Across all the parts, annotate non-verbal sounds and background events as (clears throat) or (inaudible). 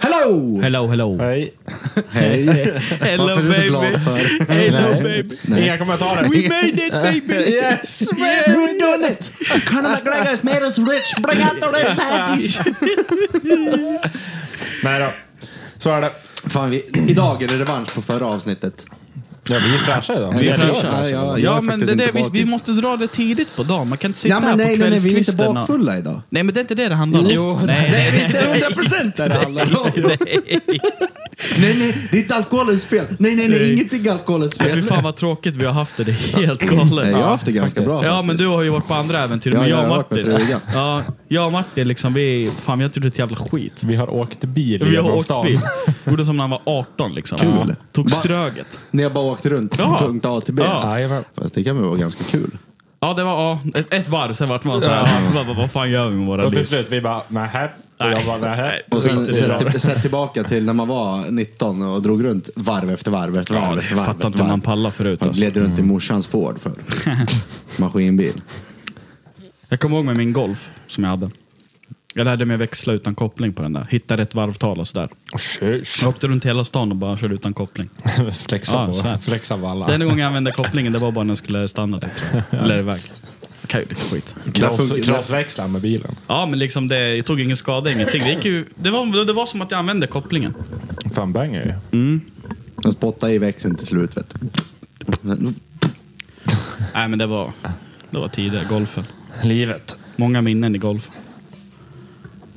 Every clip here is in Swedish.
Hello! Hello, hello. Hej. Hej! Hello Varför är du så glad för? Hello Nej. baby. Nej. Inga (laughs) kommentarer. We made it baby. (laughs) Yes! We've done it! Conor McGregor's made us rich! Bring out the red panties! Nej då. Så är det. Fan, vi, idag är det revansch på förra avsnittet. Ja, vi är fräscha idag. Vi är glada. fräscha. Ja, ja, jag Ja, är men faktiskt det är det, inte vi, vi bakis. måste dra det tidigt på dagen. Man kan inte sitta Ja, här men på nej, nej, nej, vi är inte kvällskvisten. och- bakfulla idag. Nej, men det är inte det det handlar om. nej, det är nej, visst, det är 100 (laughs) procent det det handlar om. Nej, nej, det är inte alkoholens fel. Nej, nej, nej, ingenting är alkoholens nej. Fy fel. fan vad tråkigt vi har haft det. Det är helt galet. Nej, jag har haft det ganska faktiskt. bra. Ja, men du har ju varit på andra äventyr. Ja, men jag jag och har varit med Martin. Frida. Ja, jag och Martin liksom, vi... Fan, vi har inte gjort ett jävla skit. Vi har åkt bil Vi har genom åkt stan. bil. Gjorde som när han var 18 liksom. Kul. Ja. Tog Va? ströget. När jag bara åkte runt från Ja. punkt A till B. Ja. Jajamän. Fast det kan väl vara ganska kul. Ja, det var ja, ett, ett varv, sen vart man såhär, ja. vad, vad fan gör vi med våra Och till liv? slut vi bara nähä. Och typ- jag bara nähä. Och sen Det är sett, bra. till, sett tillbaka till när man var 19 och drog runt varv efter varv efter varv. Ja, jag efter varv fattar efter inte hur varv. man pallar förut. Man Alltså. gled runt i morsans Ford (laughs) för maskinbil. Jag kommer ihåg med min Golf som jag hade. Jag lärde mig växla utan koppling på den där. Hittade ett varvtal och sådär. Tjus. Jag åkte runt hela stan och bara körde utan koppling. Flexa Ja, så här. på- flexa på alla. Den enda gången jag använde kopplingen det var bara när jag skulle stanna (laughs) typ. Eller iväg. Jag kan ju lite skit. Där Kross- funkar- Krossväxlar med bilen. Ja, men liksom det, jag tog ingen skada, ingenting. Det, gick ju, det, var, det var som att jag använde kopplingen. Fan banger ju. Den spottade i växeln till slut. Vet du. Nej, men det var, det var tidigare, golfen. Livet. Många minnen i golf.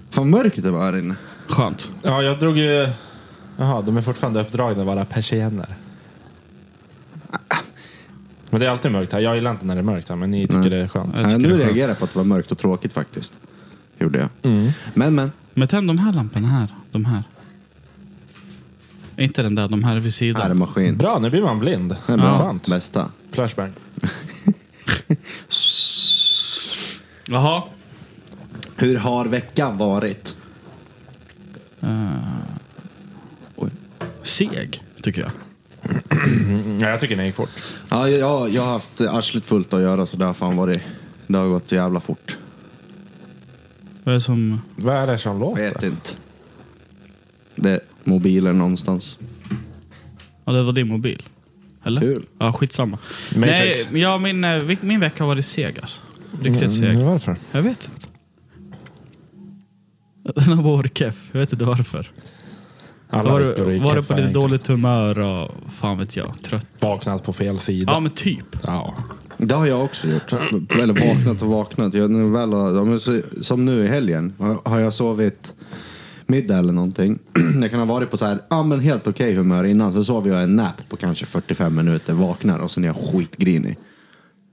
Fan mörkt det var här inne. Skönt. Ja, jag drog ju... Jaha, de är fortfarande uppdragna våra persienner. Men det är alltid mörkt här. Jag gillar inte när det är mörkt här, men ni tycker det är skönt. Ja, nu reagerar jag på att det var mörkt och tråkigt faktiskt. Gjorde jag. Mm. Men men. Men tänd de här lamporna här. De här. Inte den där, de här vid Här är sidan. maskin. Bra, nu blir man blind. Det är bra. Skönt. Bästa. Flashbang. Jaha. Hur har veckan varit? Oj. Seg, tycker jag. Mm, Ja, jag tycker den gick fort. Ja, jag, jag har haft arslet fullt att göra så det har fan varit... Det har gått så jävla fort. Vad är det som... Vad är det som Vet låter? inte. Det är mobilen någonstans. Ja, det var din mobil. Eller? Kul. Ja, skitsamma. Matrix. Nej, ja, min, eh, vi- min vecka har varit seg alltså. Riktigt seg. Mm, varför? Jag vet inte. (laughs) Den har bara varit keff. Jag vet inte varför. Alla var veckor du, gick var du kaffe på lite egentligen. dåligt humör och fan vet jag, trött? Vaknat på fel sida. Ja, men typ. Ja. Det har jag också gjort. Eller vaknat och vaknat. Jag, när jag väl har, ja, men så, som nu i helgen har- har jag sovit middag eller någonting. (clears throat) Jag kan ha varit på så här, ja men helt okej humör innan. Sen sover jag en nap på kanske 45 minuter, vaknar och sen är jag skitgrinig.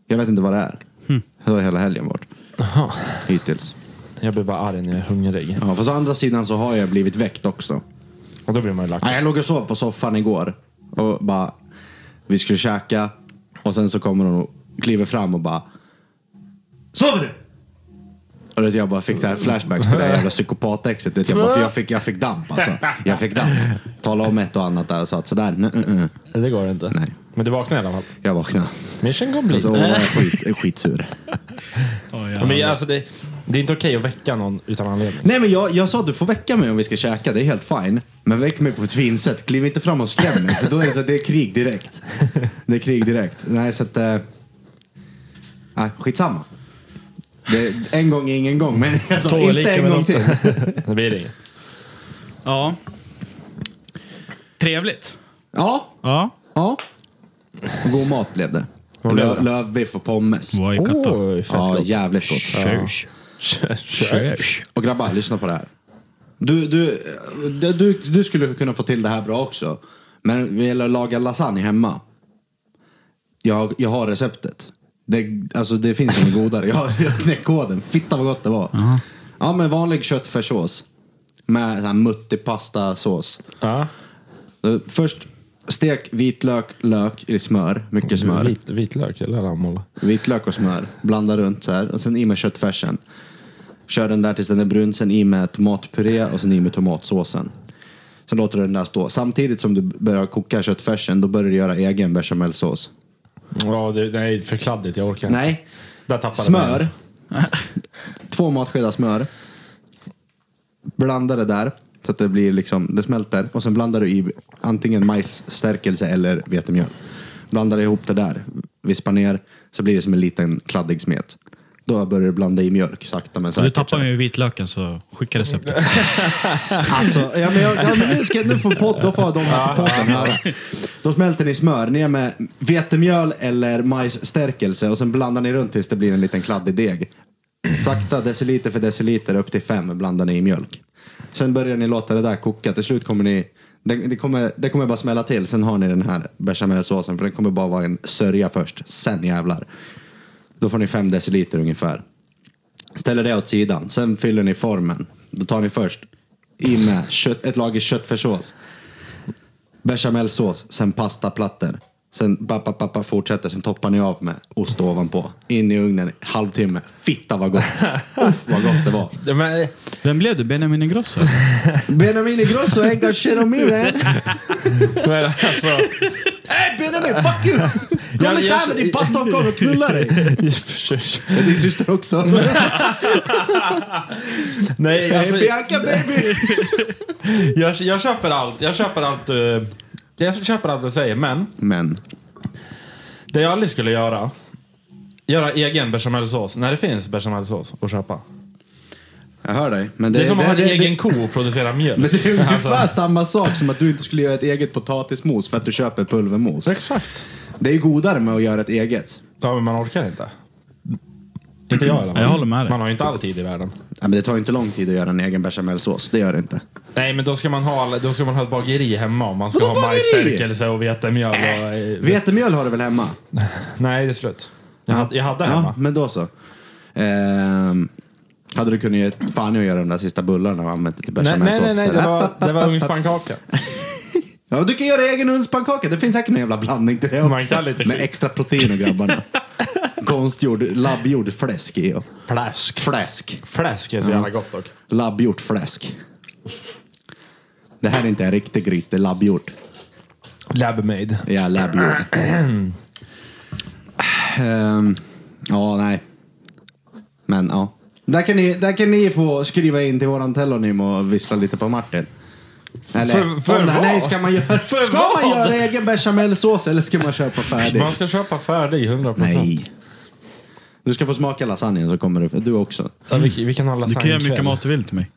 Jag vet inte vad det är. Så har hela helgen varit. Hittills. Jag blir bara arg när jag är hungrig. Ja, fast å andra sidan så har jag blivit väckt också. Och då blir man ju lack. Ja, jag låg och sov på soffan igår och bara, vi skulle käka och sen så kommer hon och kliver fram och bara, sover du? Och det, jag bara fick det här flashbacks till det här jävla psykopatexet. Det, jag, bara, för jag, fick, jag fick damp alltså. Jag fick damp. Tala om ett och annat där och sa att sådär, nej, nej, nej. Det går inte. Nej. Men du vaknar i alla fall. Jag vaknade. Mission complete. Så var jag skit, skitsur. Ja, men, alltså, det, det är inte okej att väcka någon utan anledning. Nej men jag, jag sa du får väcka mig om vi ska käka, det är helt fine. Men väck mig på ett fint sätt. Kliv inte fram och skräm mig för då är det, så, att det är krig direkt. Det är krig direkt. Nej så att... Eh, nej, skitsamma. Det, en gång är ingen gång, men jag sa Två är inte lika en med gång till. noten. (laughs) Det blir det inget. Ja. Trevligt. Ja, Ja. ja. Och god mat blev det. Vad blev det? Lö, lövbiff och pommes. Waikato. Oj, fett Ja, gott. jävligt gott. Tjus. Tjus. Och grabbar, lyssna på det här. Du, du, du, du, du skulle kunna få till det här bra också. Men det gäller att laga lasagne hemma. Jag, jag har receptet. Det, alltså det finns inget godare. Jag har jag knäckt koden. Fitta vad gott det var. Ja men vanlig köttfärssås. Med så här muttipastasås. Ja. Så Först stek vitlök, lök i smör. Mycket smör. Vit, vitlök eller rammol? Vitlök och smör. Blanda runt så här. Och sen i med köttfärsen. Kör den där tills den är brun. Sen i med tomatpuré och sen i med tomatsåsen. Sen låter du den där stå. Samtidigt som du börjar koka köttfärsen, då börjar du göra egen bechamelsås. Ja, det, nej, för kladdigt. Jag orkar inte. Nej, Där tappade Smör. (laughs) man. Två matskedar smör. Blanda det där så att det blir liksom, det smälter. Och sen blandar du i antingen majsstärkelse eller vetemjöl. Blandar ihop det där, vispar ner, så blir det som en liten kladdig smet. Då börjar du blanda i mjölk sakta men Du säkert. tappade ju vitlöken så (laughs) skicka receptet. Alltså, ja, men jag, ja, men nu ska nu får podd, då får de här på podden höra. Då smälter ni smör ner med vetemjöl eller majsstärkelse och sen blandar ni runt tills det blir en liten kladdig deg. Sakta, deciliter för deciliter, upp till fem blandar ni i mjölk. Sen börjar ni låta det där koka. Till slut kommer ni... Det, det, kommer, det kommer bara smälla till. Sen har ni den här bechamelsåsen, för den kommer bara vara en sörja först. Sen jävlar. Då får ni fem deciliter ungefär. Ställer det åt sidan. Sen fyller ni formen. Då tar ni först i med kött, ett lager köttfärssås. Bechamelsås, sen pastaplattor. Sen pappa, pappa fortsätter, sen toppar ni av med ost ovanpå. In i ugnen, halvtimme. Fitta (laughs) vad gott! Uff vad gott det var! Ja, men, Vem blev du? Benjamin Ingrosso? Benjamin Ingrosso engagerar mig man! men alltså, Hey Benjamin, (laughs) fuck you! Kom inte här med din pasta och kom och knulla dig! Din syster också. nej, (laughs) Hey, alltså, Bianca baby! jag, jag köper allt. Jag köper allt. eh, Jag köper allt du säger, men Men, det jag aldrig skulle göra, göra egen bechamelsås när det finns bechamelsås att köpa. jag hör dig. Men det, Det, är som att ha en det- egen ko och producera mjölk. (laughs) Men det är ungefär Alltså, samma sak som att du inte skulle göra ett eget potatismos för att du köper pulvermos. Exakt. Det är ju godare med att göra ett eget. Ja, men man orkar inte. Inte jag i alla fall. Jag håller med dig. Man har ju inte all tid i världen. Ja, men det tar ju inte lång tid att göra en egen bechamelsås. Det gör det inte. Nej, men då ska man ha, då ska man ha ett bageri hemma om man ska Vadå ha bageri? Äh. majsstärkelse och vetemjöl. Och, eh, Vetemjöl har du väl hemma? nej, det är slut. Jag, hade- jag hade Ja, hemma. men då så. Ehm, hade du kunnat ge fan i att göra de där sista bullarna och använt det till Nej, nej, nej, bechamelsås? nej, det var, det var ugnspannkaka. Ja, du kan göra egen ugnspannkaka. Det finns säkert någon jävla blandning till det Man också. kan lite Med skit. extra protein (laughs) och grabbarna. Konstgjord, labbgjord fläsk i. och- Fläsk. Fläsk. Mm. Fläsk är så jävla gott dock. Labbgjort fläsk. Det här är inte en riktig gris, det är labbgjort. Labmade. Ja, labbgjord. Ehm, ja, nej. Men ja. Där kan, ni, där kan ni få skriva in till våran telonym och vissla lite på Martin. Eller, För- för om, vad? nej, ska man (laughs) göra, För ska man vad? göra egen bechamelsås eller ska man köpa färdigt? Man ska köpa färdig 100%. Nej. Du ska få smaka lasagnen så kommer du, du också. Ja, vi, vi kan ha Du kan göra lasagnekväll. mycket mat du vill till mig.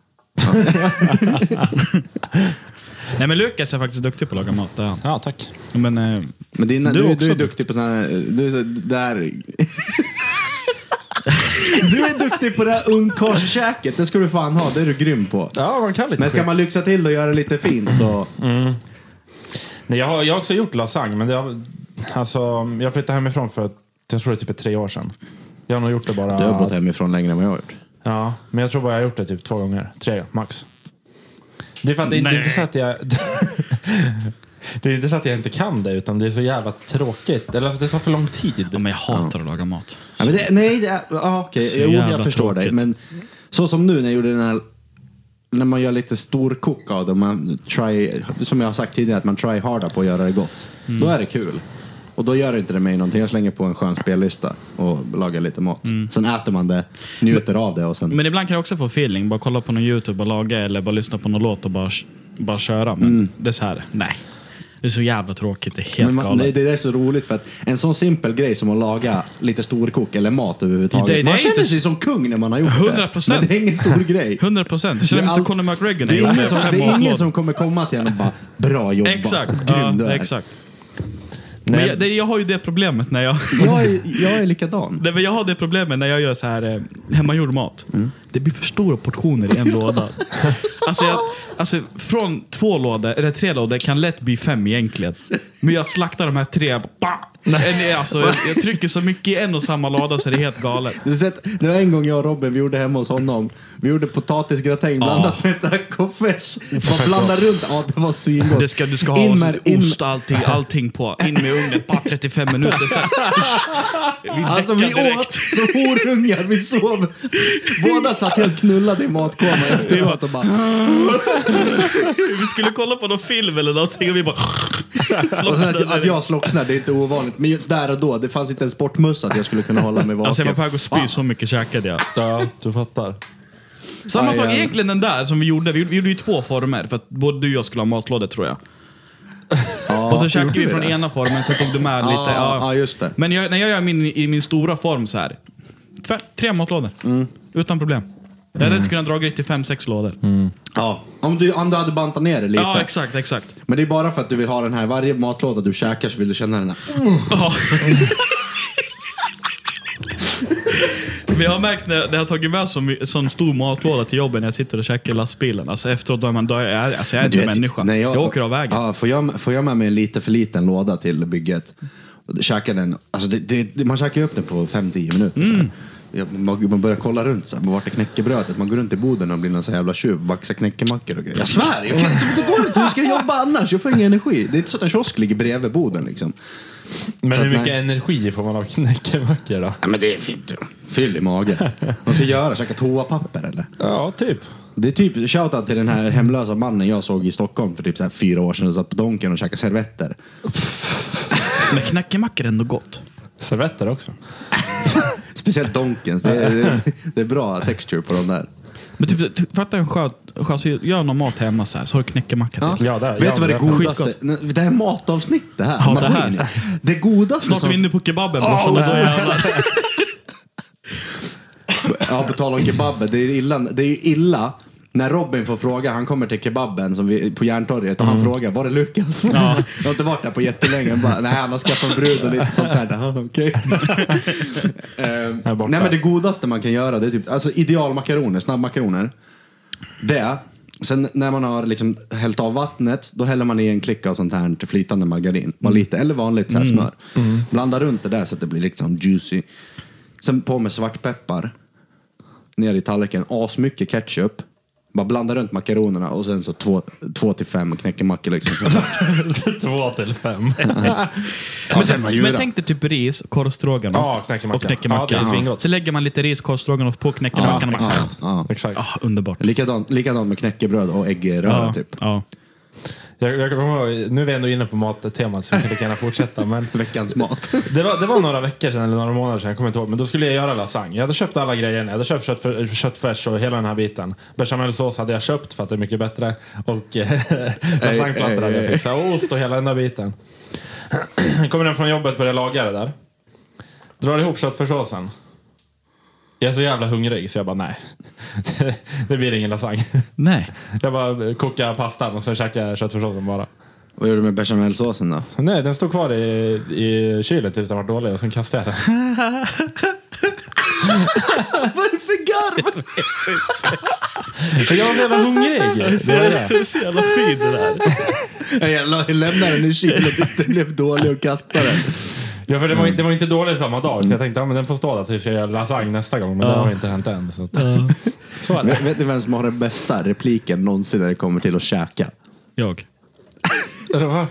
(laughs) Nej men Lukas är faktiskt duktig på att laga mat, det är han. Ja, tack. Men, eh, Men din, du, Du du, också. är duktig på såna här, du är så, där... du är duktig på det här ungkarlskäket, det ska du fan ha, det är du grym på. Ja, man kan lite Men ska skit. man lyxa till det och göra lite fint så... Nej, jag, har, jag har också gjort lasagne, men det har, alltså, jag flyttade hemifrån för jag tror det är typ tre år sedan. Jag har nog gjort det bara... Du har bott hemifrån längre än vad jag har gjort. Ja, men jag tror bara jag har gjort det typ två gånger. Tre, max. Det är för att det, det är inte så att jag... (laughs) det är inte så att jag inte kan det, utan det är så jävla tråkigt. Eller alltså, det tar för lång tid. ja, men jag hatar att laga mat. Ja, men det, nej, det, ah, okej. Så Jo, jävla jag förstår dig. tråkigt. Men så som nu när jag gjorde den här... När man gör lite storkok av det, och man try, som jag har sagt tidigare, att man try harda på att göra det gott. Mm. Då är det kul. Och då gör det inte det mig någonting. Jag slänger på en skön spellista och lagar lite mat. Sen äter man det, njuter av det och sen... Mm. Men ibland kan jag också få feeling. Bara kolla på någon YouTube och laga eller bara lyssna på någon låt och bara, bara köra. Men det är så här, nej. Det är så jävla tråkigt. Det är helt Mm. Men man, galet. nej, det där är så roligt för att en sån simpel grej som att laga lite storkok eller mat överhuvudtaget. Det- det är man känner inte- sig som kung när man har gjort det. 100%. Men det är ingen (laughs) stor grej. 100 procent. Jag känner mig Det är all- som Conor McGregor när Det jag är ingen gjorde som, fem det är ingen mål. som kommer komma till en och bara “Bra jobbat, Exakt. grym Ja, du är”. exakt. Men Nej. jag, det, jag har ju det problemet när jag... Jag är, jag är likadan. Nej, men jag har det problemet när jag gör så här eh, hemmagjord mat. Mm. Det blir för stora portioner i (laughs) en låda. Alltså, jag, alltså från två lådor, eller tre lådor, kan lätt bli fem egentligen. Men jag slaktar de här tre. Bah! En, alltså, jag, jag trycker så mycket i en och samma låda så det är helt galet. Du har sett, det var en gång jag och Robin, vi gjorde hemma hos honom. Vi gjorde potatisgratäng blandat med tacofärs. Man blandar runt. Ja, det var svingott. Det ska, du ska ha In med- in- ost allting, allting på. In med ugnen, bara 35 minuter sen. Vi Alltså vi däckar direkt. åt som horungar, vi sov. Båda satt helt knullade i matkoma efteråt och bara... Vi skulle kolla på någon film eller någonting och vi bara... (laughs) Och sen att, att jag slocknar, det är inte ovanligt. Men just där och då, det fanns inte en sportmössa att jag skulle kunna hålla mig vaken. Alltså jag var på väg att spy, Fan. så mycket käkade jag. Ja, du fattar. Samma Aj, sak, aj. egentligen den där som vi gjorde. Vi gjorde- vi gjorde ju två former, för att både du och jag skulle ha matlådor tror jag. (laughs) Ja, och så käkade vi gjorde från det. ena formen, sen tog du med lite. Ja, ja. ja, just det. Men jag, när jag gör min, i min stora form så här. Fe- Tre matlådor. Mm. Utan problem. Jag hade inte kunnat dra riktigt fem, sex lådor. Ja. Om, du, om du hade bantat ner det Mm. lite. Ja, (laughs) exakt, exakt. Men det är bara för att du vill ha den här. Varje matlåda du käkar så vill du känna den här. Ja. Men jag har märkt när jag har tagit med som, som stor matlåda till jobbet när jag sitter och käkar i lastbilen. Alltså efteråt, då är man, då är jag, alltså jag är Men du inte en vet, människa. när jag, åker av vägen. Ja, får, jag, får jag med mig en lite för liten låda till bygget, och käkar den, alltså det, det, det- man käkar ju upp den på 5-10 minuter. så här. Ja, Man, man börjar kolla runt, så här, vart är knäckebrödet? Man går runt i boden och blir någon så här jävla tjuv, baxar knäckemackor och grejer. Jag svär, jag kan, inte- det går inte. Hur ska jag jobba annars? Jag får ingen energi. Det är inte så att en kiosk ligger bredvid boden liksom. Men Så hur att mycket nej. energi får man av knäckemackor då? Ja, men det är fint. Fyll i magen. Vad ska jag göra? Käka toapapper eller? Ja, typ. Det är typ shoutout till den här hemlösa mannen jag såg i Stockholm för typ så här fyra år sedan och satt på Donken och käkade servetter. Men knäckemackor är ändå gott. Servetter (laughs) också. Speciellt Donkens. Det (laughs) är, det, det är bra texture på de där. Men typ, typ, fatta en skön, skön så gör någon mat hemma så här, så har du knäckemacka till. Ja, där. Vet du Ja, vad det där. godaste... Skitgott. Nej, Det här matavsnitt det här. Ja, det här. Maskin. Det godaste Snart är som... vi inne på kebaben brorsan. och då jävlar. Ja, på tal om kebaben. Det är illa, det är ju illa när Robin får fråga. Han kommer till kebaben som vi, på Järntorget och han Mm. frågar var är Lukas? (laughs) Jag har inte varit där på jättelänge. Han Bara, Nej, han har skaffat en brud och lite sånt där. Jaha, (laughs) okej. Ehm, Här borta. Nej, men det godaste man kan göra det är typ alltså, idealmakaroner, snabbmakaroner. Det. Sen när man har liksom hällt av vattnet, då häller man i en klicka och sånt här till flytande margarin. Bara Mm. lite, eller vanligt så här smör. Blanda runt det där så att det blir liksom juicy. Sen på med svartpeppar ner i tallriken, asmycket ketchup. Bara blanda runt makaronerna och sen så två, två till fem knäckemackor liksom. Två till (laughs) fem. men sen Men tänk dig typ ris, korvstroganoff Ja, knäckemacka. och knäckemacka. Ja, det är svingott. så lägger man lite ris, korvstroganoff på knäckemackan. och bara, ja, ja. Exakt. Ah, underbart. Likadant, likadant med knäckebröd och äggröra Ja, typ. ja. Jag, jag kommer ihåg, nu är vi ändå inne på mattemat så vi kan lika gärna fortsätta. Men Veckans mat. det, var, det var några veckor sedan, eller några månader sedan, jag kommer inte ihåg. Men då skulle jag göra lasagne. Jag hade köpt alla grejerna. Jag hade köpt köttfär, köttfärs och hela den här biten. Bechamelsås hade jag köpt för att det är mycket bättre. Och eh, (laughs) lasagneplattor hade jag fixat. Och ost och hela den där biten. (clears throat) kommer den från jobbet börjar laga det där. Drar ihop köttfärssåsen. Jag är så jävla hungrig så jag bara nej. (laughs) det blir ingen lasagne. (laughs) Nej. Jag bara kokar pastan och sen käkar jag köttfärssåsen bara. Vad gjorde du med bechamelsåsen då? Nej, den stod kvar i, i kylen tills den var dålig och sen kastade jag den. Vad är det för (laughs) garv? För (laughs) jag var så jävla hungrig. (laughs) Det är det. Det är så jävla fint det där. Jag la- lämnade den i kylen tills den blev dålig och kastade den. Ja, för det var, inte- det var inte dålig samma dag så jag tänkte att men den får stå där tills jag gör lasagne nästa gång. Men det har inte hänt än. Så att, så är det. Vet- Vet ni vem som har den bästa repliken någonsin när det kommer till att käka? Jag.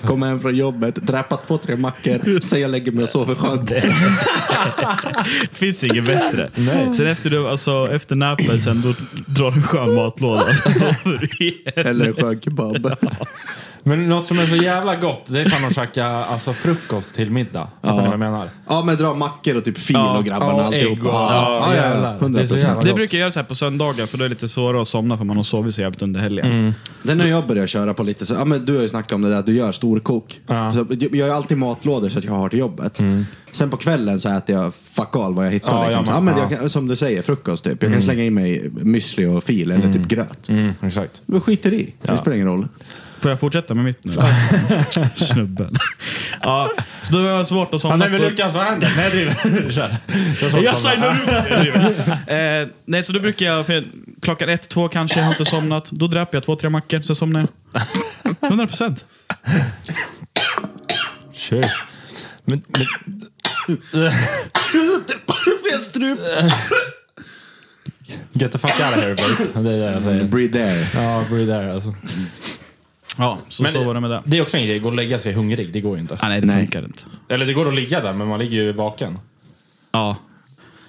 Kommer hem från jobbet, dräpat två, tre mackor, sen jag lägger mig och sover skönt. Finns inget bättre. Sen efter, du, alltså, efter nappet, sen då drar du en skön matlåda. Eller en skön kebab. Men något som är så jävla gott det är fan att käka alltså, frukost till middag. Fattar ni vad jag menar? Ja, men dra mackor och typ fil och grabbarna ja, alltihop. ägg och- ja, jävlar. Det är så 100%. jävla- Det brukar jag göra så här på söndagar, för då är det lite svårare att somna för man har sovit så jävligt under helgen. Mm. Den har jag börjat köra på lite så, ja, men du har ju snackat om det där, du gör storkok. Ja. Mm. Så, jag gör ju alltid matlådor så att jag har till jobbet. Sen på kvällen så äter jag fuck all vad jag hittar. Ja, liksom. ja, så, ja, men- men ja. jag kan, som du säger, frukost typ. Jag kan slänga i mig müsli och fil eller typ gröt. Mm, exakt. Men skiter i, det spelar ingen roll. Får jag fortsätta med mitt nu? (laughs) Snubben. Ja, så då var jag svårt att Ja, somna. nej, men på- Lukas, vad händer? Nej, jag (laughs) driver. Kör. Jag såg Jag samma. signar upp! eh, nej, så då brukar jag, för klockan ett, två kanske, jag har inte somnat. Då dräper jag två, tre mackor, sen somnar jag. 100 procent. Kör. Men, men, Fel strup! get the fuck out of here, babe. Det är det jag säger. Breathe there. Ja, breathe there alltså. Ja, så, Men- så var det med det. Det är också en grej, gå och lägga sig hungrig, det går ju inte. Ah, nej, det Nej. funkar inte. Eller det går att ligga där, men man ligger ju vaken. Ja.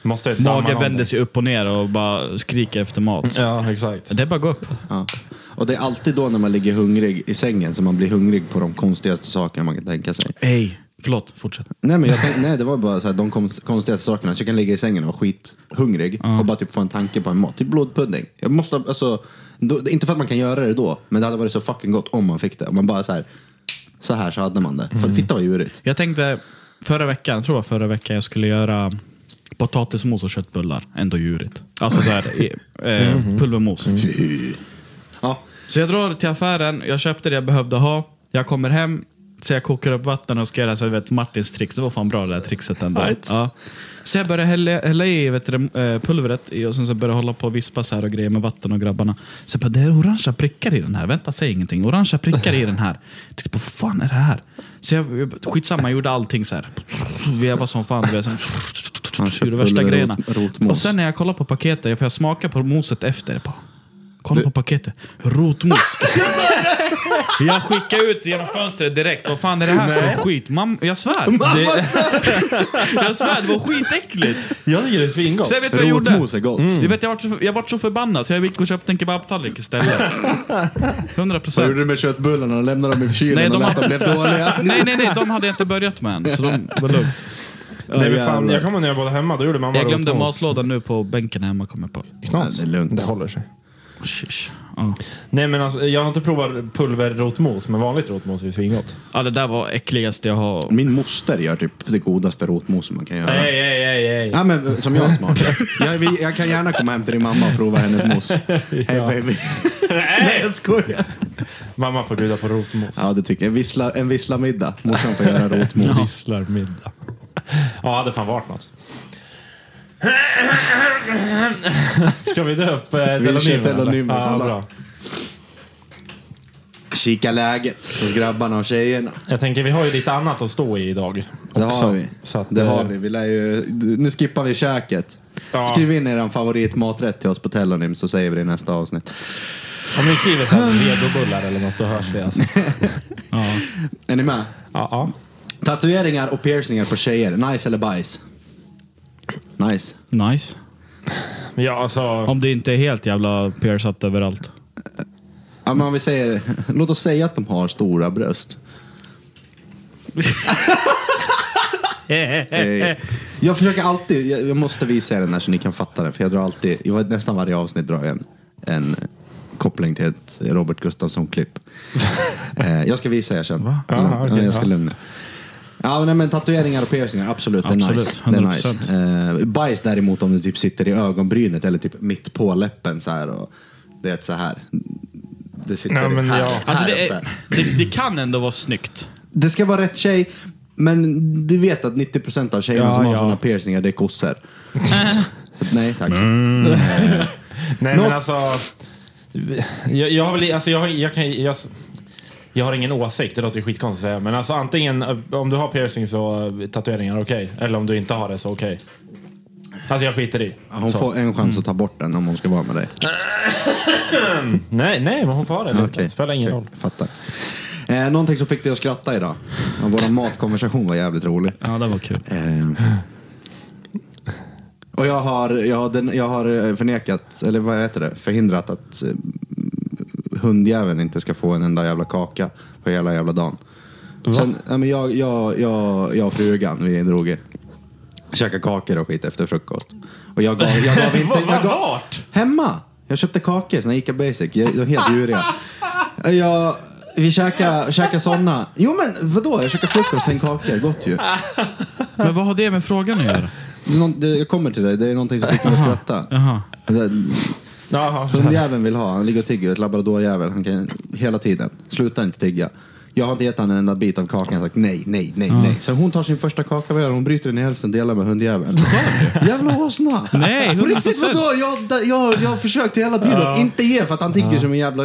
Måste damma Magen vänder någonting. sig upp och ner och bara skriker efter mat. Ja, exakt. Det är bara att gå upp. Ja. Och det är alltid då när man ligger hungrig i sängen som man blir hungrig på de konstigaste sakerna man kan tänka sig. Hej. Förlåt, fortsätt. Nej, men jag tänkte, nej det var bara så här, de konst- konstigaste sakerna. Att jag kan ligga i sängen och vara skithungrig och bara typ få en tanke på en mat. Typ blodpudding. Jag måste, alltså, då, inte för att man kan göra det då, men det hade varit så fucking gott om man fick det. Om man bara så här, så här så hade man det. För Mm. fitta vad djurigt. Jag tänkte förra veckan, jag tror det var förra veckan, jag skulle göra potatismos och köttbullar. Ändå djurigt. Alltså så här, i- eh, pulvermos. Ja. Så jag drar till affären, jag köpte det jag behövde ha. Jag kommer hem, så jag kokar upp vatten och ska göra så här, vet, Martins tricks. Det var fan bra det där trickset ändå. Ja. Så jag börjar hälla, hälla i vet du, det, eh, pulvret i och sen så börjar jag hålla på och vispa så här och grejer med vatten och grabbarna. Så jag bara, det är orangea prickar i den här. Vänta, säg ingenting. Orangea prickar i den här. Jag tänkte, vad fan är det här? Så jag, jag- skitsamma, jag gjorde allting så här. Vevade som fan. du vet, så- Han köpte Ur de Typ värsta pulver, grejerna. rot- rotmos. Och (laughs) sen när jag kollar på paketet, för jag smakar på moset efter. jag bara, Kolla på paketet. Rotmos. (laughs) jag skickar ut genom fönstret direkt. Vad fan är det här för skit? Mam- jag svär. Det- jag svär, det var skitäckligt. Jag tycker det är svingott. Sen vet du vad jag gjorde? Rotmos Mm. är gott. Jag, vet, jag, vart så, jag vart så förbannad så jag gick och köpte en kebabtallrik (laughs) istället. 100 Vad gjorde procent. du med köttbullarna? Lämnade dem i kylen Nej, de och lät dem har- bli dåliga? (laughs) Nej, nej, nej. De hade jag inte börjat med än. Så de var lugnt. Nej, men fan, jävlar. jag kommer när jag bodde hemma, då gjorde mamma Jag glömde rotmos. matlådan nu på bänken hemma, kom jag på. Knas. Ja, det är lugnt. Det håller sig. Shish. Ja. Nej men alltså, jag har inte provat pulverrotmos, men vanligt rotmos är svingott. ja, det där var äckligaste jag har... Min moster gör typ det godaste rotmos som man kan göra. Nej, nej, nej, nej. Ja, men, som jag smakar. Jag, vi- jag kan gärna komma hem till din mamma och prova hennes (laughs) mos. (laughs) Hej baby. Nej, jag skojar. Mamma får bjuda på rotmos. Ja, det tycker jag. En Vissla, en visslamiddag. Morsan får göra rotmos. Visslar middag. Ja, det fan varit något. (laughs) Ska vi dö upp eh, telonymen, kör eller? telonymen, Ja, kolla. bra. Kika läget hos grabbarna och tjejerna. Jag tänker, vi har ju lite annat att stå i idag. Det också. har vi. Så att, det eh, har vi. vi lär ju, nu skippar vi käket. Ja. Skriv in er favoritmaträtt till oss på Telonym så säger vi det i nästa avsnitt. Om ni skriver så här, vegobullar eller något, då hörs vi alltså. Är ni med? Ja, ja. Tatueringar och piercingar på tjejer. Nice eller bajs? Nice. Nice. ja alltså, Om det inte är helt jävla piercat överallt. Ja, men om vi säger, låt oss säga att de har stora bröst. Eh, Jag försöker alltid, jag jag måste visa er den här så ni kan fatta den. För jag drar alltid, i var- nästan varje avsnitt drar jag en, en koppling till ett Robert Gustafsson-klipp. Eh, jag ska visa er sen. Ja, Aha, okej, ja, jag ska ja. lugna. Ja, nej, men tatueringar och piercingar, absolut. Det är Absolut, nice. Det är 100%. nice. Eh, bajs däremot om du typ sitter i ögonbrynet eller typ mitt på läppen så här. Och, det är så här. Det sitter Ja, men här, ja. här Alltså det, uppe. är, det, det kan ändå vara snyggt. Det ska vara rätt tjej, men du vet att 90% av tjejerna Ja, som har ja. såna piercingar, det är kossor. Så att nej tack. nej men Något- alltså. Jag, jag har väl, alltså jag, har- jag kan, jag, jag har ingen åsikt, det låter ju skitkonstigt att säga. Men alltså antingen, eh, om du har piercing så eh, tatueringar okej. Eller om du inte har det så okej. Alltså jag skiter i. Hon så. får en chans att ta bort den om hon ska vara med dig. Nej, nej, men hon får ha det. eller inte. Okej. Det spelar ingen Okej, roll. Fattar. Eh, någonting som fick dig att skratta idag. Ja, Vår matkonversation var jävligt rolig. Ja, det var kul. Eh, och jag har, jag, har den, jag har eh, förnekat, eller vad heter det, förhindrat att eh, hundjäveln inte ska få en enda jävla kaka på hela jävla dagen. Sen, ja, men jag, jag, jag, jag och frugan, vi drog käkade kakor och skit efter frukost. Och jag gav, jag gav inte... Jag gav, Vart? Hemma! Jag köpte kakor, såna Ica Basic. Jag- De är helt djuriga. Jag, vi käkade, käkade såna. Jo men vadå, jag käkade frukost, sen kakor. Gott ju. (laughs) Men vad har det med frågan att göra? Någon, det, jag kommer till det, det är någonting som fick mig att skratta. Jaha. Det- Jaha. Hundjäveln vill ha, han ligger och tigger, ett labradorjävel. Han kan hela tiden. Sluta inte tigga. Jag har inte gett han en enda bit av kakan. Jag har sagt nej, nej, nej, nej. Sen hon tar sin första kaka, vad gör hon? Hon bryter den i hälften och delar med hundjäveln. Jävla åsna! Nej, På riktigt 100%. vadå? Jag, jag, jag har försökt hela tiden att inte ge för att han tigger som en jävla...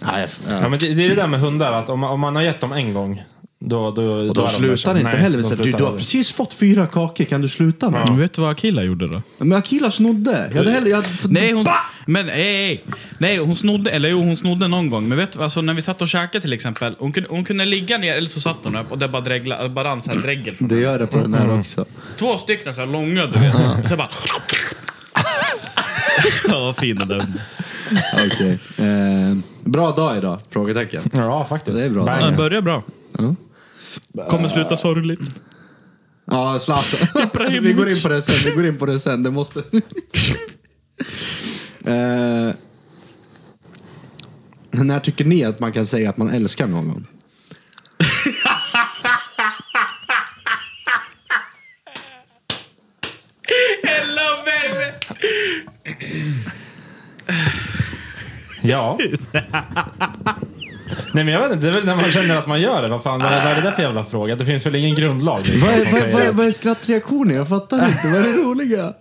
Nej, jag- Ja, men det, det är det där med hundar, att om, man- om man har gett dem en gång, då, liksom. då, Och de slutar inte heller. Så att du, du har precis fått fyra kakor, kan du sluta nu? Men Vet du vad Akilla gjorde då? Men Akila snodde. Jag hade hellre... Jag hade, för, Nej, hon, Va? Men nej, nej, hon snodde, eller jo, hon snodde någon gång. Men vet du, alltså, när vi satt och käkade till exempel. Hon kunde, hon kunde ligga ner eller så satt hon upp och det bara, dregla, bara rann så här dregel. från- Det gör det på den här också. Två stycken så här långa, du vet. (laughs) Så jag bara... Ja, vad fin och dum. Okej. Eh, bra dag idag? Frågetecken. Ja, faktiskt. Det är bra. Ja, Bang. det börjar bra. Kommer sluta sorgligt. Ja, Zlatan. vi går in på det sen. Vi går in på det sen. Det måste... eh, när tycker ni att man kan säga att man älskar någon? Hello baby! (laughs) Ja. Nej men jag vet inte, det är väl när man känner att man gör det. Vad fan, vad är vad är det där för jävla fråga? Det finns väl ingen grundlag? liksom, Vad som är, vad, säger vad, det. är, vad är skrattreaktionen? Jag fattar inte. Vad är det roliga?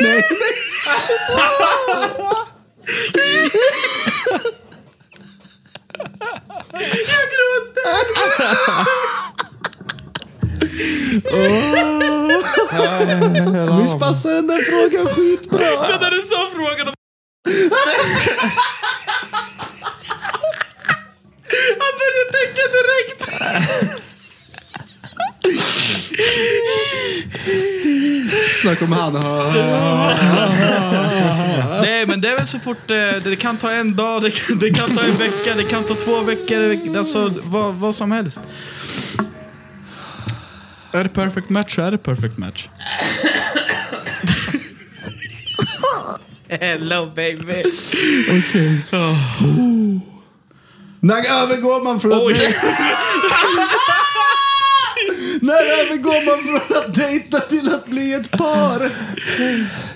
nej, nej. Visst passar den där frågan skitbra? Det där du sa frågan om... Han började tänka direkt! Snart kommer han. Nej men det är väl så fort, eh, det kan ta en dag, det kan, det kan ta en vecka, det kan ta två veckor, alltså vad, vad som helst. Är det perfect match så är det perfect match. Hello baby! När övergår man från Oj. att dejta... När övergår man från att dejta till att bli ett par?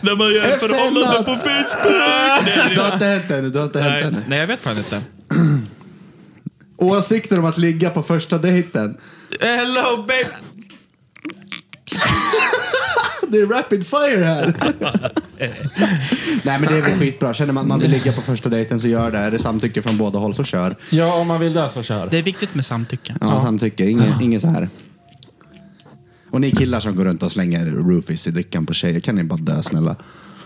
När man gör ett Efter en förhållande natt. på Facebook! Du har inte hänt ännu, du har inte hänt Nej, ännu. nej jag vet fan inte. Åsikter om att ligga på första dejten. Hello baby! Det är rapid fire här. Nej men det är väl skitbra. Känner man att man vill ligga på första dejten så gör det. Är det samtycke från båda håll så kör. Ja, om man vill det så kör. Det är viktigt med samtycke. Ja, samtycke. Ingen, ingen så här. Och ni killar som går runt och slänger roofies i drickan på tjejer, kan ni bara dö snälla?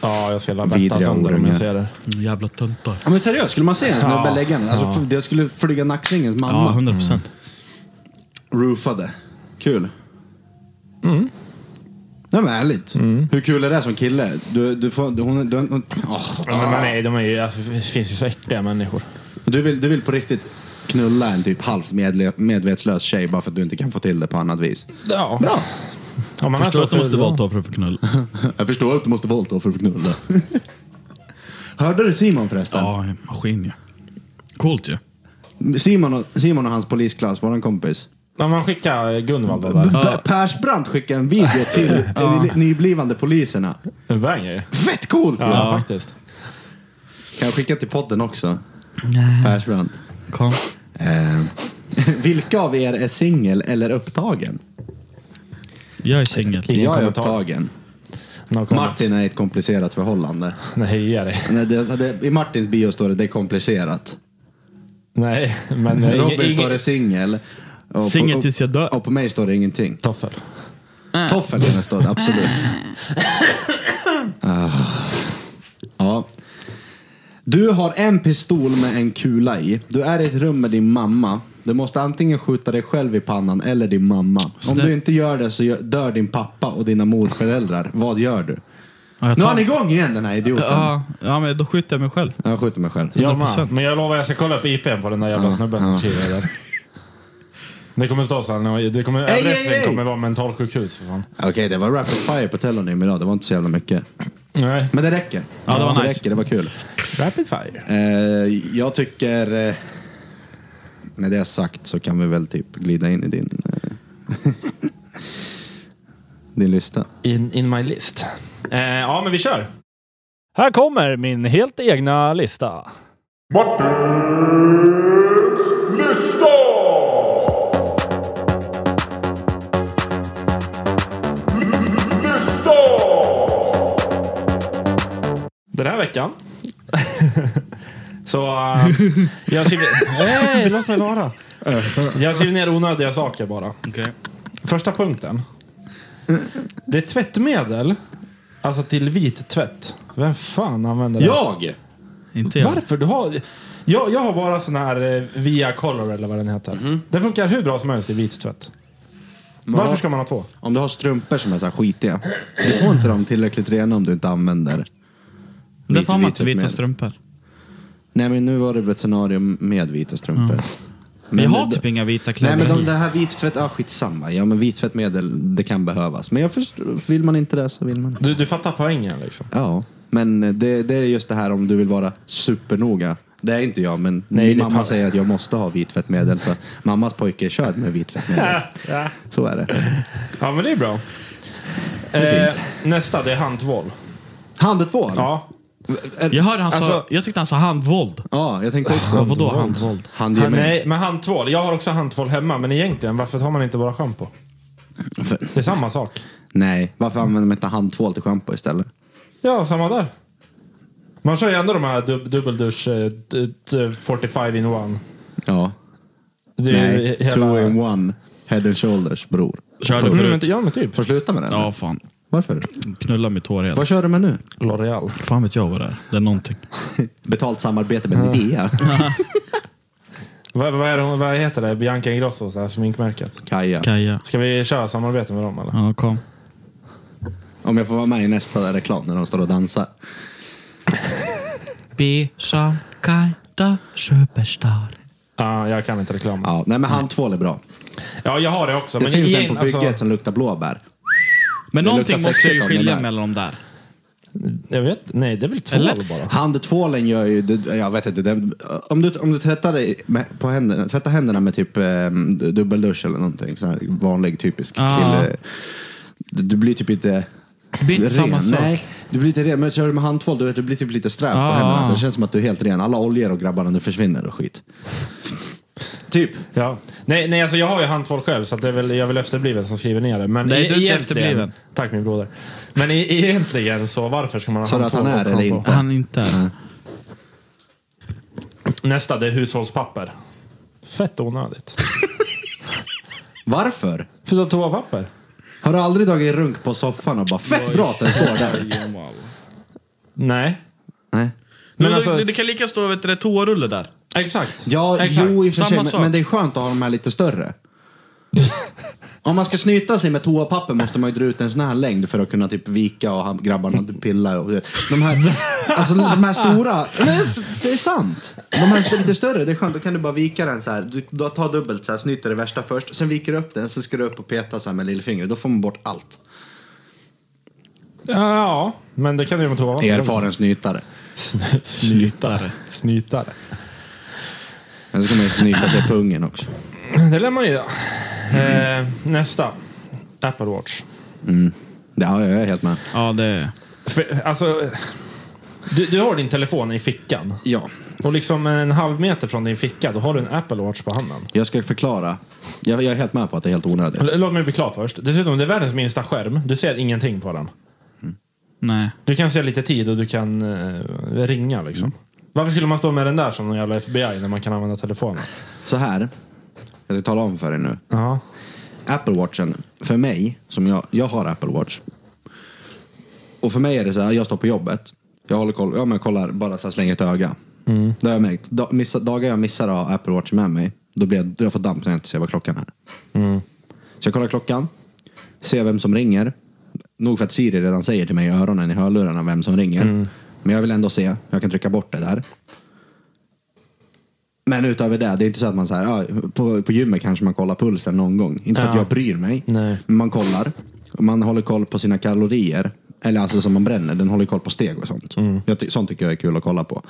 Ja, jag ska vätta Vidriga sönder om orungar. jag ser det. Jävla töntar. Ja, men seriöst, skulle man se en snubbe Ja. lägga en? Alltså, f- Det skulle flyga nacksvingens Ja, mamma. 100 procent. Mm. roofade. Kul. Mm. Nej men ärligt. Hur kul är det som kille? Du, du får... Du, hon, du, hon, åh. Ja, men man är, de är ju, alltså, det finns ju så äckliga människor. du, vill, du vill på riktigt knulla en typ halvt medle- medvetslös tjej bara för att du inte kan få till det på annat vis. Ja. Bra! Om man Förstår är så att du måste ful, våldta för att (laughs) få knull. (laughs) Jag förstår att du måste våldta för att knulla. (laughs) Hörde du Simon förresten? Ja, en maskin ja. Coolt ju. Simon, och, Simon och hans polisklass, våran kompis. Ja, man skickar Gunvald då där. Ja. Persbrandt skickade en (laughs) video till de nyblivande poliserna. En banger. Ja, Fett coolt! ju. ja, faktiskt. Kan jag skicka till podden också? Persbrandt. Kom. Eh, (laughs) vilka av er är singel eller upptagen? Jag är singel. Ingen jag är kommentar. upptagen. No comments. Martin är i ett komplicerat förhållande. Nej, ge dig. Nej, det, det, I Martins bio står det det är komplicerat. Nej, men eh, Robin ingen... står det ingen... singel. Och på- Singel tills jag dör. Och på mig står det ingenting. Toffel. Toffel kan det stå, det, absolut. Ah. ja. Du har en pistol med en kula i. Du är i ett rum med din mamma. Du måste antingen skjuta dig själv i pannan eller din mamma. Om där- du inte gör det så gör- dör din pappa och dina morföräldrar. Vad gör du? Ja, jag Nu tar- är han igång igen den här idioten. Ja, ja, men då skjuter jag mig själv. Jag skjuter mig själv. Jag 100%. med. Men jag lovar, jag ska kolla upp IPn på den där jävla Ja, snubben som ja. skriver där. Det kommer stå så här, det kommer, Ej, adressen ej, ej! kommer vara mentalsjukhus för fan. Okej, det var rapid fire på telonym idag. Det var inte så jävla mycket. Nej. Men det räcker. Ja, det var nice. räcker. Det var kul. Rapid fire. Eh, jag tycker... Eh, med det sagt så kan vi väl typ glida in i din... Eh, (laughs) din lista. In, in my list. Eh, ja, men vi kör. Här kommer min helt egna lista. Den här veckan. (laughs) Så eh, jag skriver... Nej, låt mig vara. Jag skriver ner onödiga saker bara. Okej. Första punkten. Det är tvättmedel, alltså till vit tvätt. Vem fan använder det? Jag! Inte jag. Varför? Du har... Jag, jag har bara sån här eh, Via Color eller vad den heter. Mhm. Den funkar hur bra som helst i vit tvätt. Varför ska man ha två? Om du har strumpor som är så här skitiga, du får inte dem tillräckligt rena om du inte använder Därför har man inte typ vitet vita med. strumpor. Nej men nu var det ett scenario med vita strumpor. Men Mm. jag har det- typ inga vita Nej kläder. men de, det här vittvätt, ja skitsamma. Ja men vittvättmedel, det kan behövas. Men jag förstår, vill man inte det så vill man inte. Du, du fattar poängen liksom. Ja. Men det, det är just det här om du vill vara supernoga. Det är inte jag, men Nej, min det mamma tar- säger att jag måste ha vitvättmedel. Så mammas pojke kör med vitvättmedel. Så är det. Ja, men det är bra. är eh, nästa, det är handtvål. Handtvål? Ja. Är- Jag, hörde han sa, Alltså- jag tyckte han sa handvåld. ja, jag tänkte också. Vadå handvåld? Hand Han, nej, men handtvål. Jag har också handtvål hemma, men egentligen, varför tar man inte bara schampo? Det är samma sak. Nej, varför använder man inte handtvål till schampo istället? Ja, samma där. Man kör ju ändå de här dub, dubbeldusch eh, d- d- 45 in one. Ja. Det är ju Nej, hela... two in one. Head and shoulders, bror. Körde Mm, men, förut. ja, men typ. Får sluta med den? Ja, fan. Varför? Knulla mitt hår helt. Vad kör du med nu? (laughs) L'Oreal. Fan vet jag vad det är. Det är någonting. Betalt samarbete med (laughs) Nivea. Vad, vad, är det, hon- vad heter det? Bianca Ingrosso, så här, sminkmärket. Kaja. Kaja. Ska vi köra samarbete med dem eller? Ja, kom. Om jag får vara med i nästa reklam när de står och dansar. Bisa kajda superstar. Ja, jag kan inte reklam. Ja. Ja, nej men handtvål är bra. jag har det också. Det men finns igen, en på bygget alltså, som luktar blåbär. Men Det någonting luktar måste ju sexigt om det skilja där. mellan de där. Jag vet Nej, det är väl två Eller? bara. Handtvålen gör ju, det- jag vet inte, den, om, du, om du tvättar, dig med, på händerna, tvättar händerna med typ eh, dubbeldusch eller någonting, sån här vanlig typisk Ja. kille. Du, du blir typ inte Ah. Det blir inte samma sak. Ah. Nej, du blir inte ren. Men kör du med handtvål, du, vet, du blir typ lite sträv Ja, på händerna. ja. Så det känns som att du är helt ren. Alla oljor och grabbarna nu försvinner och skit. Typ. Ja. Nej, nej, alltså jag har ju handtvål själv så att det är väl, jag är väl efterbliven som skriver ner det. Men Nej, e- du är inte egentligen- efterbliven. Tack min broder. Men e- egentligen så varför ska man ha Sa du att handtvål? han är och eller schampo? inte? Han inte. Nästa, det är hushållspapper. Fett onödigt. Varför? För du har toapapper? Har du aldrig dragit runk på soffan och bara fett bra att den står (laughs) där? Mm. Nej. Nej. Men Men alltså- det, det kan lika stå vet du, det, toarulle där. Exakt. Ja, Exakt. jo i och för samma sig, men, sak. men det är skönt att ha de här lite större. Om man ska snyta sig med toapapper måste man ju dra ut en sån här längd för att kunna typ vika och han- grabbarna typ pilla. Och de, här, alltså, de här stora, men det är sant. De här lite större, det är skönt. Då kan du bara vika den så här. Du, du tar dubbelt så här, snyter det värsta först. Sen viker du upp den, sen ska du upp och peta så här med lillfingret. Då får man bort allt. Ja, ja, men det kan du ju med toapapper. Erfaren snytare. Sny- Snytare. Snytare. Sen ska man ju snyta sig i pungen också. Det lär man ju göra. eh, Nästa. Apple Watch. Ja, jag är helt med. Ja, det är... För, alltså, du, du har din telefon i fickan. Ja, Och liksom en halv meter från din ficka, då har du en Apple Watch på handen. Jag ska förklara. Jag, jag är helt med på att det är helt onödigt. L- Låt mig bli klar först. Dessutom, det är världens minsta skärm. Du ser ingenting på den. Nej. Du kan se lite tid och du kan eh, ringa liksom. Varför skulle man stå med den där som någon jävla FBI när man kan använda telefonen? Så här. Jag ska tala om för er nu. Ja. Apple Watchen, för mig, som jag, jag har Apple Watch. Och för mig är det så här, jag står på jobbet. Jag håller koll, ja, men jag kollar bara så här, slänger ett öga. Det har jag märkt. Da, missa, dagar jag missar att ha Apple Watch med mig, då blir jag, då jag får damp när jag inte ser vad klockan är. Så jag kollar klockan, ser vem som ringer. Nog för att Siri redan säger till mig i öronen i hörlurarna vem som ringer. Men jag vill ändå se, jag kan trycka bort det där. Men utöver det, det är inte så att man så här, ja, på, på gymmet kanske man kollar pulsen någon gång. Inte för att Ja. jag bryr mig. Nej. Men man kollar. Och Man håller koll på sina kalorier. Eller alltså som man bränner. Den håller koll på steg och sånt. Mm. Jag ty- sånt tycker jag är kul att kolla på.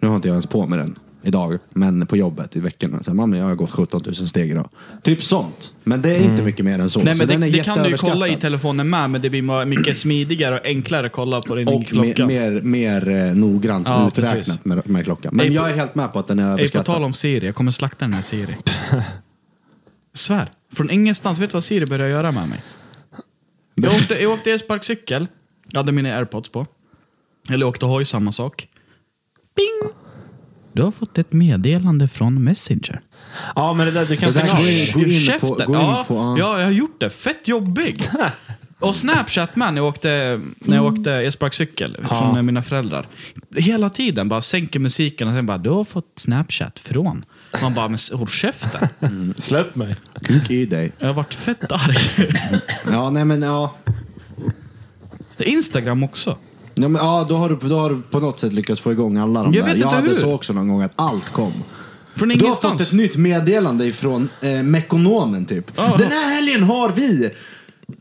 Nu har inte jag ens på mig den idag. Men på jobbet i veckan. Så här, mamma, jag har gått 17 000 steg idag. Typ sånt. Men det är inte mycket mer än så. Mm. Nej, så men den det, är det kan du ju kolla i jätteöverskattad. telefonen med, men det blir ma- (clears throat) mycket smidigare och enklare att kolla på din Och mer, klocka. mer, mer eh, noggrant Ja, uträknat precis. med, med klockan. Men Ey, på- jag är helt med på att den är Ey, på tal överskattad. om Siri, jag kommer slakta den (laughs) här Siri. Svär. Från ingenstans. Vet du vad Siri började göra med mig? Jag åkte, jag åkte elsparkcykel. Jag hade mina airpods på. Eller jag åkte hoj, samma sak. Bing! Du har fått ett meddelande från Messenger. Ja, men det där, du kan Det där stänga av. går ju- Gå in på- Käften. gå in ja, på- ja, jag har gjort det. Fett jobbig. Och Snapchat med när jag åkte, när jag åkte jag sprang cykel från mina föräldrar. Hela tiden bara sänker musiken och sen bara, du har fått Snapchat från. Man bara, men håll käften. Släpp mig. Kuk i dig. Jag har varit fett arg. Ja, nej men ja. Instagram också. Ja, men, ja då, har du, då har du på något sätt lyckats få igång alla de Jag där. vet inte jag hade hur. så också någon gång att allt kom. Från Du har fått ett ingenstans. nytt meddelande ifrån eh, Mekonomen typ. Ja. Den här helgen har vi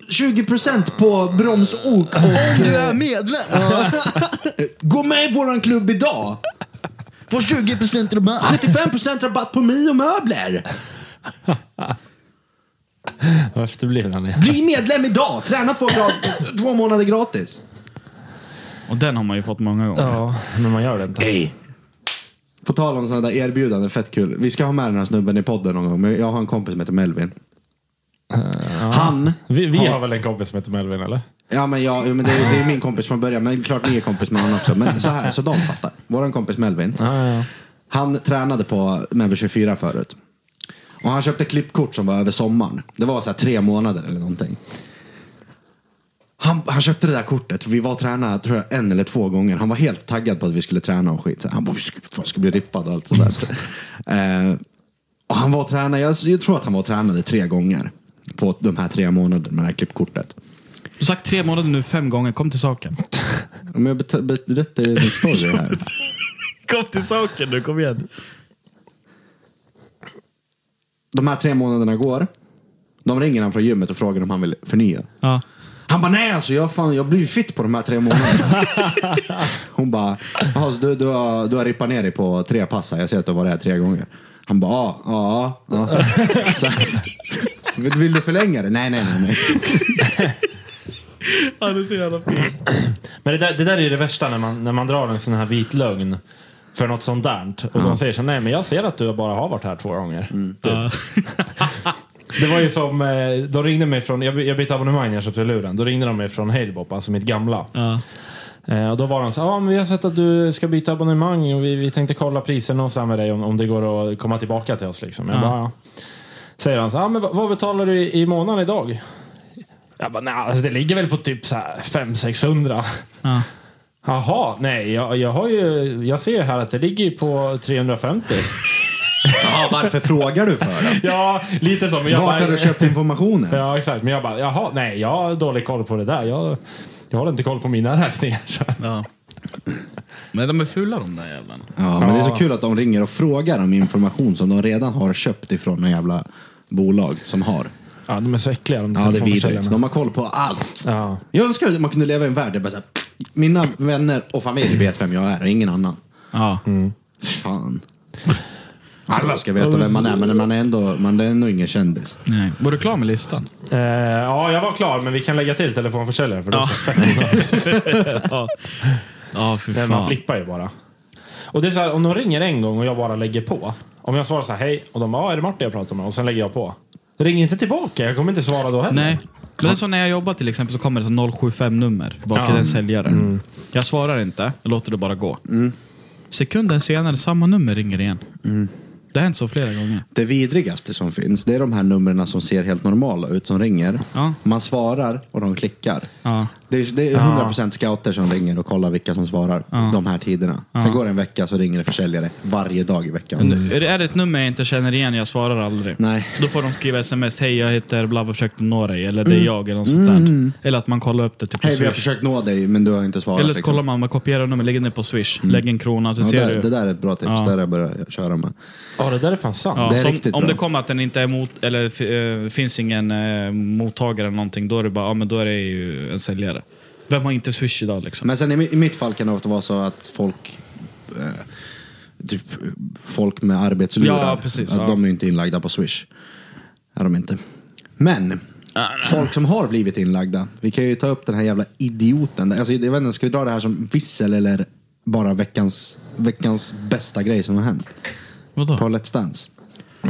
20% på bromsok och... Om du är (laughs) medlem! Gå med i våran klubb idag! Får 20% rabatt. 75% rabatt på Mio möbler! Vad efterbliven han är. Bli medlem idag! Träna två, grad- två månader gratis! Och den har man ju fått många gånger. Ja, men man gör det inte. Hej! På tal om sådana där erbjudanden, fett kul. Vi ska ha med den här snubben i podden någon gång, men jag har en kompis som heter Melvin. Han Vi, vi har väl en kompis som heter Melvin, eller? Ja, men, jag, men det, är, det är min kompis från början, men klart ni är kompis med honom också. Men så här, så de fattar. Vår kompis Melvin, han tränade på Member 24 förut. Och han köpte klippkort som var över sommaren. Det var så här tre månader eller någonting. Han, han köpte det där kortet, vi var och tränade tror jag, en eller två gånger. Han var helt taggad på att vi skulle träna och skit. Så han bara, "Vi ska- fan, ska bli rippad och allt sådär. eh, och han var och tränade, jag, jag tror att han var och tränade tre gånger på de här tre månaderna med det här klippkortet. Du har sagt tre månader nu fem gånger, kom till saken. Men jag bet- bet- berättar ju en story (laughs) här. Kom till saken nu, kom igen. De här tre månaderna går. De ringer han från gymmet och frågar om han vill förnya. Ja. Han bara, nej alltså jag, fan, jag blir ju fit på de här tre (laughs) månaderna. Hon bara, "Jaha, så du, du, har, du har rippat ner dig på tre pass här. Jag ser att du har varit här tre gånger. Han bara, ja, ja, ja. (laughs) Så här, (laughs) "Vill- Vill du förlänga det? Nej, nej, nej. nej. Han är så jävla fin. Men det där, det där är ju det värsta när man, när man drar en sån här vit lögn för något sånt där. Och de säger så här, nej men jag ser att du bara har varit här två gånger. Typ. det var ju som, eh, de ringde mig från, jag, by- jag bytte abonnemang när jag köpte luren. Då ringde de mig från Halebop, alltså mitt gamla. (laughs) Ja. Eh, och då var de så här, ah, men vi har sett att du ska byta abonnemang och vi, vi tänkte kolla priserna och så här med dig om, om det går att komma tillbaka till oss. Liksom. Jag Ja. bara, "Ja." säger han så här, ah, men vad- vad betalar du i, i månaden idag? Jag bara, nej, alltså, det ligger väl på typ så här 500-600. Ja. Jaha, nej, jag, jag, har ju, jag ser ju här att det ligger ju på 350. Ja, varför frågar du för det? (laughs) ja, lite så. Men jag Vart har bara, du köpt informationen? (laughs) ja, exakt. Men jag bara, jaha, nej, jag har dålig koll på det där. Jag, jag har inte koll på mina (laughs) räkningar. Så. Ja. Men de är fula de där jävlarna. Ja, men det är så kul att de ringer och frågar om information som de redan har köpt ifrån en jävla bolag som har. Ja, de är så äckliga de Ja, det är vidrigt. telefonförsäljarna. De har koll på allt. Ja. Jag önskar att man kunde leva i en värld där bara så här, mina vänner och familj vet vem jag är och ingen annan. Ja. Mm. Fan. Alla ska veta vem man är, men man är ändå, man är ändå ingen kändis. Nej. Var du klar med listan? Eh, ja, jag var klar, men vi kan lägga till telefonförsäljare. För det är så fett. (laughs) Ja, ja för Men Man fan. flippar ju bara. Och det är så här, om de ringer en gång och jag bara lägger på. Om jag svarar så här, hej, och de bara, "Ja, är det Martin jag pratar med? Och sen lägger jag på. Ring inte tillbaka, jag kommer inte svara då heller. Nej. Men det är så när jag jobbar till exempel så kommer det så 075-nummer bak i den säljaren. Mm. Jag svarar inte, jag låter det bara gå. Sekunden senare, samma nummer ringer igen. Mm. Det har hänt så flera gånger. Det vidrigaste som finns, det är de här numren som ser helt normala ut, som ringer. Ja. Man svarar och de klickar. Ja. Det är, det är 100% scouter som ringer och kollar vilka som svarar de här tiderna. Sen går det en vecka så ringer det försäljare varje dag i veckan. Är det- Är det ett nummer jag inte känner igen, jag svarar aldrig. Mm. Nej. Då får de skriva sms, hej jag heter bla och försökte nå dig, eller det är jag, eller något sånt där. Eller att man kollar upp det typ på Mm. Hej, vi har Swish. försökt nå dig men du har inte svarat. Eller så liksom. Mm. kollar man, man kopierar nummer, lägger ner på Swish, lägger en krona, så ja, ser där, du. Det där är ett bra tips, Ja. det där har jag börjat köra med. Ja, det där är fan sant. Ja, Det är så om- riktigt om bra. det kommer att den inte är mot, eller f- eh, finns ingen eh, mottagare eller någonting, då är det bara, ja men då är det ju en säljare. Vem har inte Swish idag liksom? Men sen i, mi- i mitt fall kan det ofta vara så att folk eh, Typ folk med arbetslurar. Ja, precis, att ja. De är inte inlagda på Swish. Är de inte. Men Ah, folk som har blivit inlagda. Vi kan ju ta upp den här jävla idioten. Alltså, jag vet inte, ska vi dra det här som vissel eller bara veckans, veckans bästa grej som har hänt? Vadå? På Let's Dance. (laughs)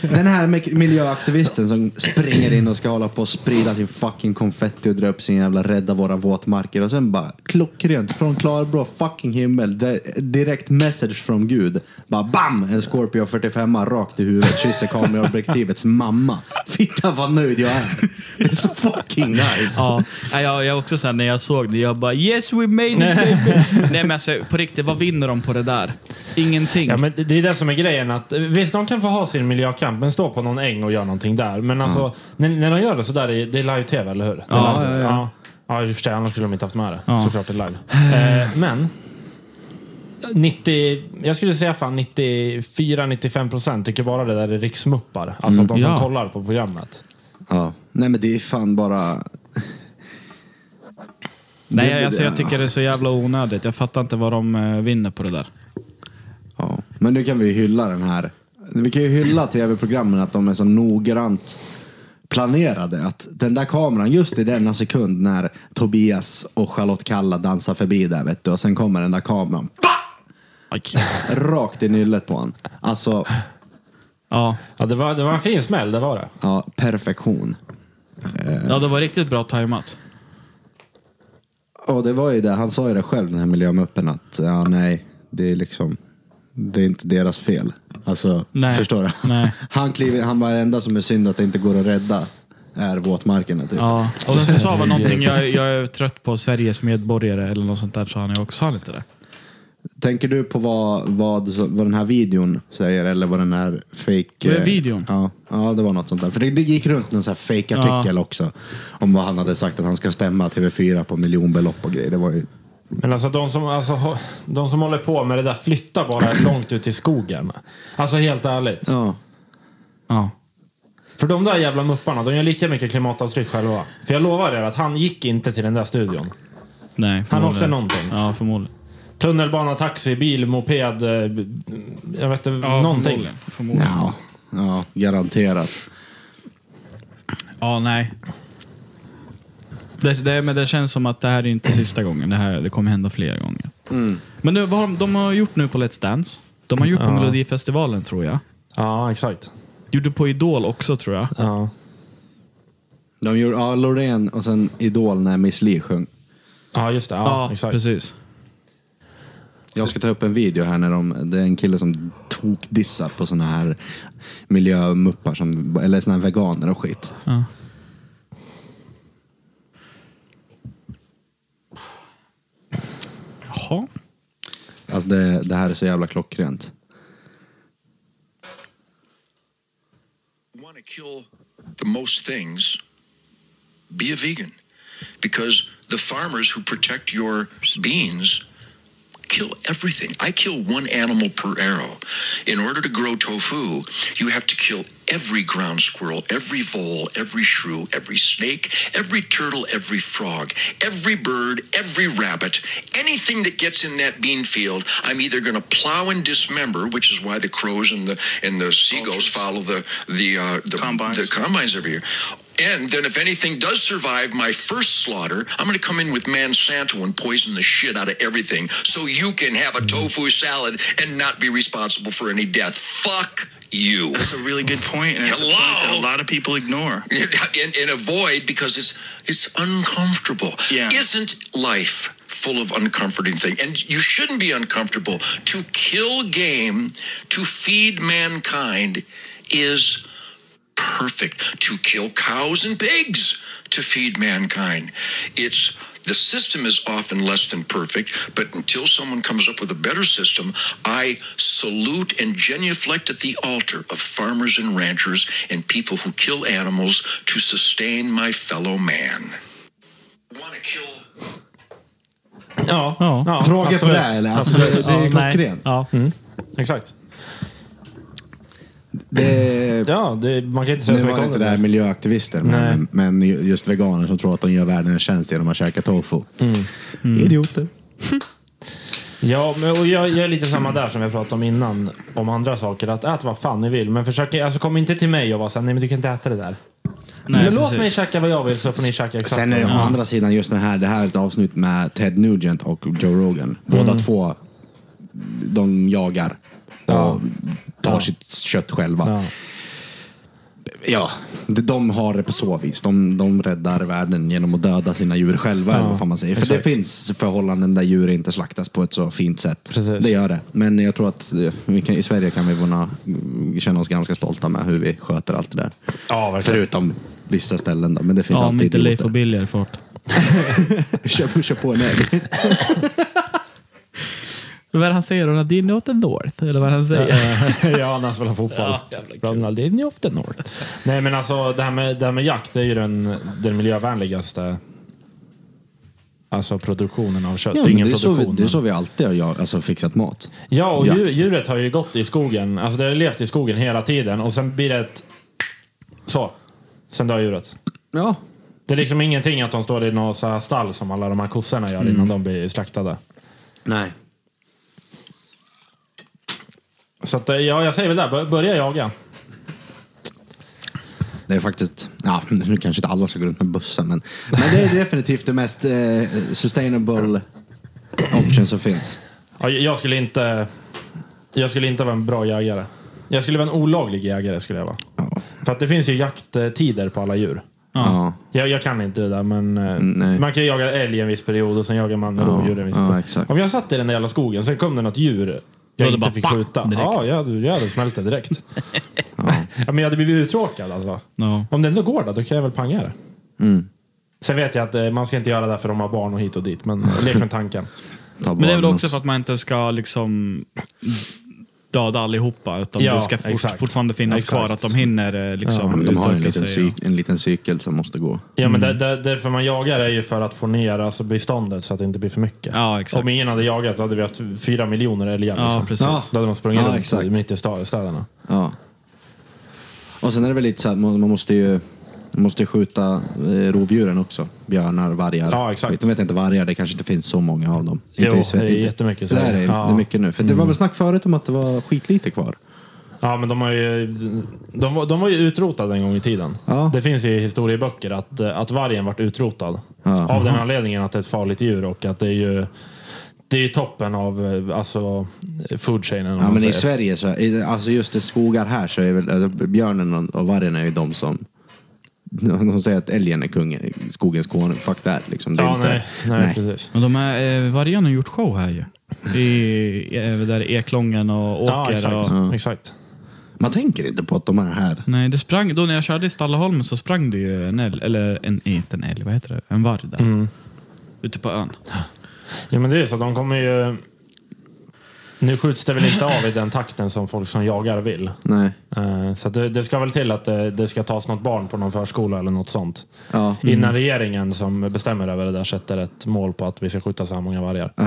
Den här mik- miljöaktivisten som springer in och ska hålla på och sprida sin fucking konfetti och dra upp sin jävla rädda våra våtmarker och sen bara klockrent från klarblå fucking himmel där- direkt message från Gud. Bara bam! En Scorpio 45 rakt i huvudet kysser kameraobjektivets mamma. Fitta vad nöjd jag är. Det är så fucking nice. Ja, nej, jag, jag också sen när jag såg det, jag bara yes we made it baby. (laughs) Nej men alltså på riktigt, vad vinner de på det där? Ingenting. Ja, men det- det är det som är grejen. Att, eh, visst, de kan få ha sin miljökamp, men stå på någon äng och göra någonting där. Men alltså, när, när de gör det så där, är- det är live-tv, eller hur? Ja, ja, ja. ja. i och för sig, annars skulle de inte haft med det. Såklart det är live. Eh, men, 90, jag skulle säga fan 94-95 procent tycker bara det där är riksmuppar. Alltså de som Ja. kollar på programmet. Ja. Nej men det är fan bara... Nej, det- alltså, jag det- tycker det är så jävla onödigt. Jag fattar inte vad de eh, vinner på det där. Ja. Men nu kan vi ju hylla den här. Vi kan ju hylla tv-programmen att de är så noggrant planerade. Att den där kameran, just i denna sekund när Tobias och Charlotte Kalla dansar förbi där vet du. Och sen kommer den där kameran Aj. rakt i nyllet på honom. Alltså, Ja. Ja, det, var, det var en fin smäll, det var det. ja, perfektion. ja, det var riktigt bra tajmat. Och det var ju det, han sa ju det själv den här miljömuppen att ja nej, det är liksom, det är inte deras fel. Alltså, Nej. förstår du? Nej. Han, kliver, han var enda som är synd att det inte går att rädda är våtmarkerna typ. Ja. Och sen så sa han någonting, jag, jag är trött på Sveriges medborgare eller något sånt där, sa han ju också. Sa han inte det? Tänker du på vad, vad, vad den här videon säger eller vad den här fake... Vad är eh, videon? Ja, ja, det var något sånt där. För det, det gick runt en sån här fake artikel också. Om vad han hade sagt att han ska stämma TV4 på miljonbelopp och grejer. Det var ju... Men alltså de som, alltså, hå- de som håller på med det där flyttar bara långt ut i skogen. Alltså helt ärligt. Ja. Ja. För de där jävla mupparna, de gör lika mycket klimatavtryck själva. För jag lovar er att han gick inte till den där studion. Nej, Han förmodligen. åkte någonting. Ja, förmodligen. Tunnelbana, taxi, bil, moped, eh, b- jag vet inte, Ja, någonting. Förmodligen. förmodligen. Ja. Ja. ja, garanterat. nej. Det, det, men det känns som att det här är inte sista gången. Det, här, det kommer hända fler gånger. Mm. Men nu, vad har de, de har gjort nu på Let's Dance. De har gjort på Melodifestivalen tror jag. Ja, exakt. Gjorde på Idol också tror jag. Ja. De gjorde ja, Loreen och sen Idol när Miss Li sjöng. ja, just det. Ja, exakt. precis. Jag ska ta upp en video här när de, det är en kille som tokdissar på såna här miljömuppar som, eller såna här veganer och skit. Ja. Jaha. Alltså det, det här är så jävla klockrent. want to kill the most things, be a vegan. Because the farmers who protect your beans kill everything. I kill one animal per arrow. In order to grow tofu, you have to kill every ground squirrel, every vole, every shrew, every snake, every turtle, every frog, every bird, every rabbit, anything that gets in that bean field. I'm either going to plow and dismember, which is why the crows and the and the seagulls follow the the uh, the Combines. the combines every year. And then, if anything does survive my first slaughter, I'm going to come in with Monsanto and poison the shit out of everything so you can have a tofu salad and not be responsible for any death. Fuck you. (laughs) That's a really good point, and it's a point that Hello? a lot of people ignore. and, and avoid because it's it's uncomfortable. Yeah. Isn't life full of uncomforting things? And you shouldn't be uncomfortable. To kill game, to feed mankind, is perfect. To kill cows and pigs to feed mankind. It's the system is often less than perfect, but until someone comes up with a better system, I salute and genuflect at the altar of farmers and ranchers and people who kill animals to sustain my fellow man. Want to kill Ja, Ja. ja, Fråga på absolut. det här, eller? Alltså, det, det är klockrent. Mm. Ja. Exakt. Det, Ja, det, man kan inte säga nu så var det mycket inte om det här det. miljöaktivister, men, men ju- just veganer som tror att de gör världen en tjänst genom att käka tofu. Mm. Mm. Idioter. Ja, men, och jag, jag är lite samma där som jag pratade om innan. Om andra saker. Att ät vad fan ni vill. Men försök, alltså, kom inte till mig och var såhär, nej men du kan inte äta det där. Nej, men låt precis. mig käka vad jag vill så får ni käka exakt Sen är det å vad ni vill. andra sidan just den här, det här är ett avsnitt med Ted Nugent Mm. och Joe Rogan. Båda två, de jagar. Ja. Och tar sitt kött själva. Ja. Ja, de- de har det på så vis. De, de räddar världen genom att döda sina djur själva, eller vad fan man säger. För det finns förhållanden där djur inte slaktas på ett så fint sätt. Precis. Det gör det. Men jag tror att eh, vi kan, i Sverige kan vi kunna känna oss ganska stolta med hur vi sköter allt det där. Ja, verkligen. Förutom vissa ställen då, men det finns Ja, om alltid inte Leif och idioter. Billy är fart. (laughs) Kör, (laughs) kör på en älg. Vad är det han säger? Ronaldinho åt the north? Eller vad han säger? (laughs) ja, när han spelar fotboll. Ronaldinho of the North. Nej, men alltså det här med, det här med jakt det är ju den, den miljövänligaste alltså produktionen av kött. Ja, det är men ingen det, är så vi, produktion. det är så vi alltid har jag- alltså, fixat mat. Ja, och Jakt. djur, djuret har ju gått i skogen. Alltså det har levt i skogen hela tiden och sen blir det ett... Så. Sen dör djuret. Ja, Det är liksom ingenting att de står i något så här stall som alla de här kossorna gör innan de blir slaktade. Mm. nej. Så att, eh, ja, jag säger väl där, bör- börja jaga. Det är faktiskt, ja, nu kanske inte alla ska gå runt med bussar, men, men det är definitivt det mest eh, sustainable option som finns. Ja, jag- jag skulle inte... Jag skulle inte vara en bra jägare. Jag skulle vara en olaglig jägare skulle jag vara. Ja. För att det finns ju jakttider på alla djur. Ja. Jag, jag kan inte det där, men eh, nej. man kan ju jaga älg en viss period och sen jagar man rovdjur en viss ja, period. exakt. Om jag satt i den där jävla skogen, sen kom det något djur jag hade inte bara fick bang, skjuta. direkt. Ja, jag hade, jag hade smält det (laughs) direkt. ja, men jag hade blivit uttråkad alltså. Ja. Om det ändå går då, då kan jag väl panga det. Mm. Sen vet jag att eh, man ska inte göra det för de har barn och hit och dit, men lek med tanken. Ta Men det är väl barnen också för att man inte ska liksom döda allihopa. Utan Ja, det ska fort, exakt. fortfarande finnas Exakt. kvar att de hinner eh, liksom Ja, men de har ju en utöka liten, sig, ja. cyk, en liten cykel som måste gå. Ja, men Mm. där, där, därför man jagar är ju för att få ner alltså, beståndet så att det inte blir för mycket. Ja, exakt. Om ingen hade jagat så hade vi haft fyra miljoner älgar. Ja, liksom. precis. Ja. Då hade de sprungit Ja, runt exakt. mitt i sta- städerna. Ja. Och sen är det väl lite så här, man man måste ju man måste ju skjuta eh, rovdjuren också. Björnar, vargar. Ja, exakt. Jag vet inte vargar, det kanske inte finns så många av dem. Jo, inte i Sverige. det är Inte- jättemycket Det i där Sverige. är, Ja. det är mycket nu. För det var väl snack förut om att det var skitlite kvar. Ja, men de, har ju, de, var- de var ju utrotade en gång i tiden. Ja. Det finns ju i historieböcker att, eh, att vargen vart utrotad. Ja. Mm-hmm. Av den anledningen att det är ett farligt djur och att det är ju, det är ju toppen av eh, alltså, food chainen. om Ja, man men säger. i Sverige, så, i- alltså just i skogar här, så är väl alltså, björnen och- och vargen är ju de som de säger att älgen är kungen, skogens konung. Fuck that liksom. Det är Ja, inte, nej, nej, precis. Men de här eh, vargarna har gjort show här ju. I, eh, där i Eklången och Åker. Ja, exakt. Och, exakt. Man tänker inte på att de är här. nej, det sprang, då när jag körde i Stallaholmen så sprang det ju en älg, eller en, inte en älg, vad heter det? En varg där. Ute på ön. Ja, men det är ju så. De kommer ju... Nu skjuts det väl inte av i den takten som folk som jagar vill. Nej. Eh, Så att det, det ska väl till att det, det ska tas något barn på någon förskola eller något sånt. Ja. Mm. Innan regeringen som bestämmer över det där sätter ett mål på att vi ska skjuta så här många vargar. (clears throat)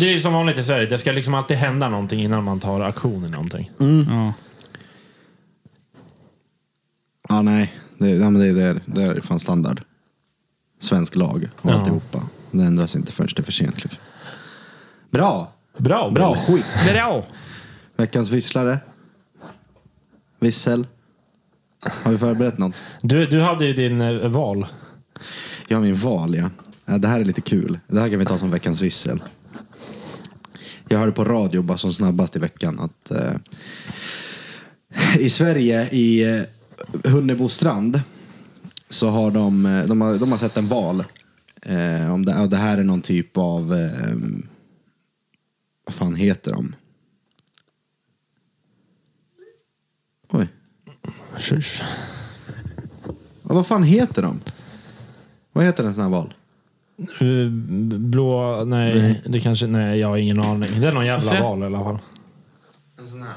Det är ju som vanligt i Sverige. Det ska liksom alltid hända någonting innan man tar aktion i någonting. Mm. Ja. Ja, nej. Det, ja, men det, det, är, det är fan standard. Svensk lag och Ja. alltihopa. Det ändras inte förrän det är för sent. Liksom. Bra! Bra! Bra skit! Bra! Veckans visslare. Vissel. Har vi förberett något? Du, du hade ju din eh, val. Ja, min val ja. ja. Det här är lite kul. Det här kan vi ta som veckans vissel. Jag hörde på radio bara som snabbast i veckan att eh, i Sverige, i eh, Hunnebostrand, så har de, eh, de, har, de har sett en val. Eh, om det, ja, det här är någon typ av, eh, vad fan heter de? Oj, Ja, vad fan heter de? Vad heter en sån här val? Eh, Blå... Nej, det kanske... Nej, jag har ingen aning. Det är någon Får jävla se. val i alla fall. En sån här.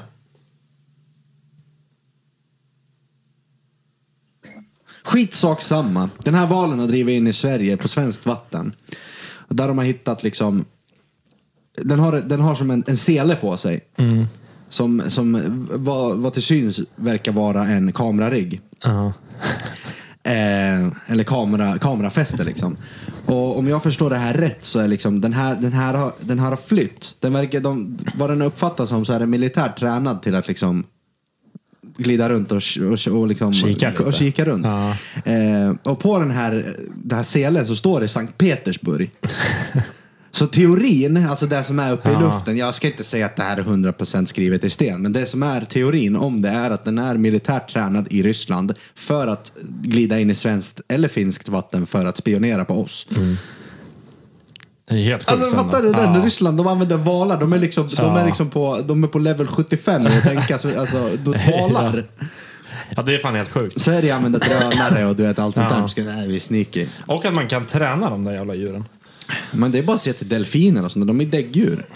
Skitsak samma. Den här valen har drivit in i Sverige på svenskt vatten. Där de har hittat liksom... Den har, den har som en, en sele på sig. Som, som vad, vad till syns verkar vara en kamerarigg. Ja. Eh, eller kamera, kamerafäste liksom. Och om jag förstår det här rätt så är liksom den här, den här, har, den här har flytt. Den verkar, de, vad den uppfattas som så är den militärt tränad till att liksom glida runt och, och, och, liksom, Kika lite. och kika runt. Ja. Eh, och på den här, det här selen så står det Sankt Petersburg. Så teorin, alltså det som är uppe i Ja. luften, jag ska inte säga att det här är 100% skrivet i sten, men det som är teorin om det är att den är militärt tränad i Ryssland för att glida in i svenskt eller finskt vatten för att spionera på oss. Det är helt sjukt. Alltså fattar du ändå. den? Mm. Ja. Ryssland, de använder valar. De är liksom, de är Ja. liksom på, de är på level 75 och tänka så, alltså, (laughs) då valar. Ja, det är fan helt sjukt. Sverige använder drönare och du vet allt sånt Ja. där. Ska, nej, vi är sneaky. Och att man kan träna de där jävla djuren. Men det är bara att se till delfiner och sånt, de är däggdjur.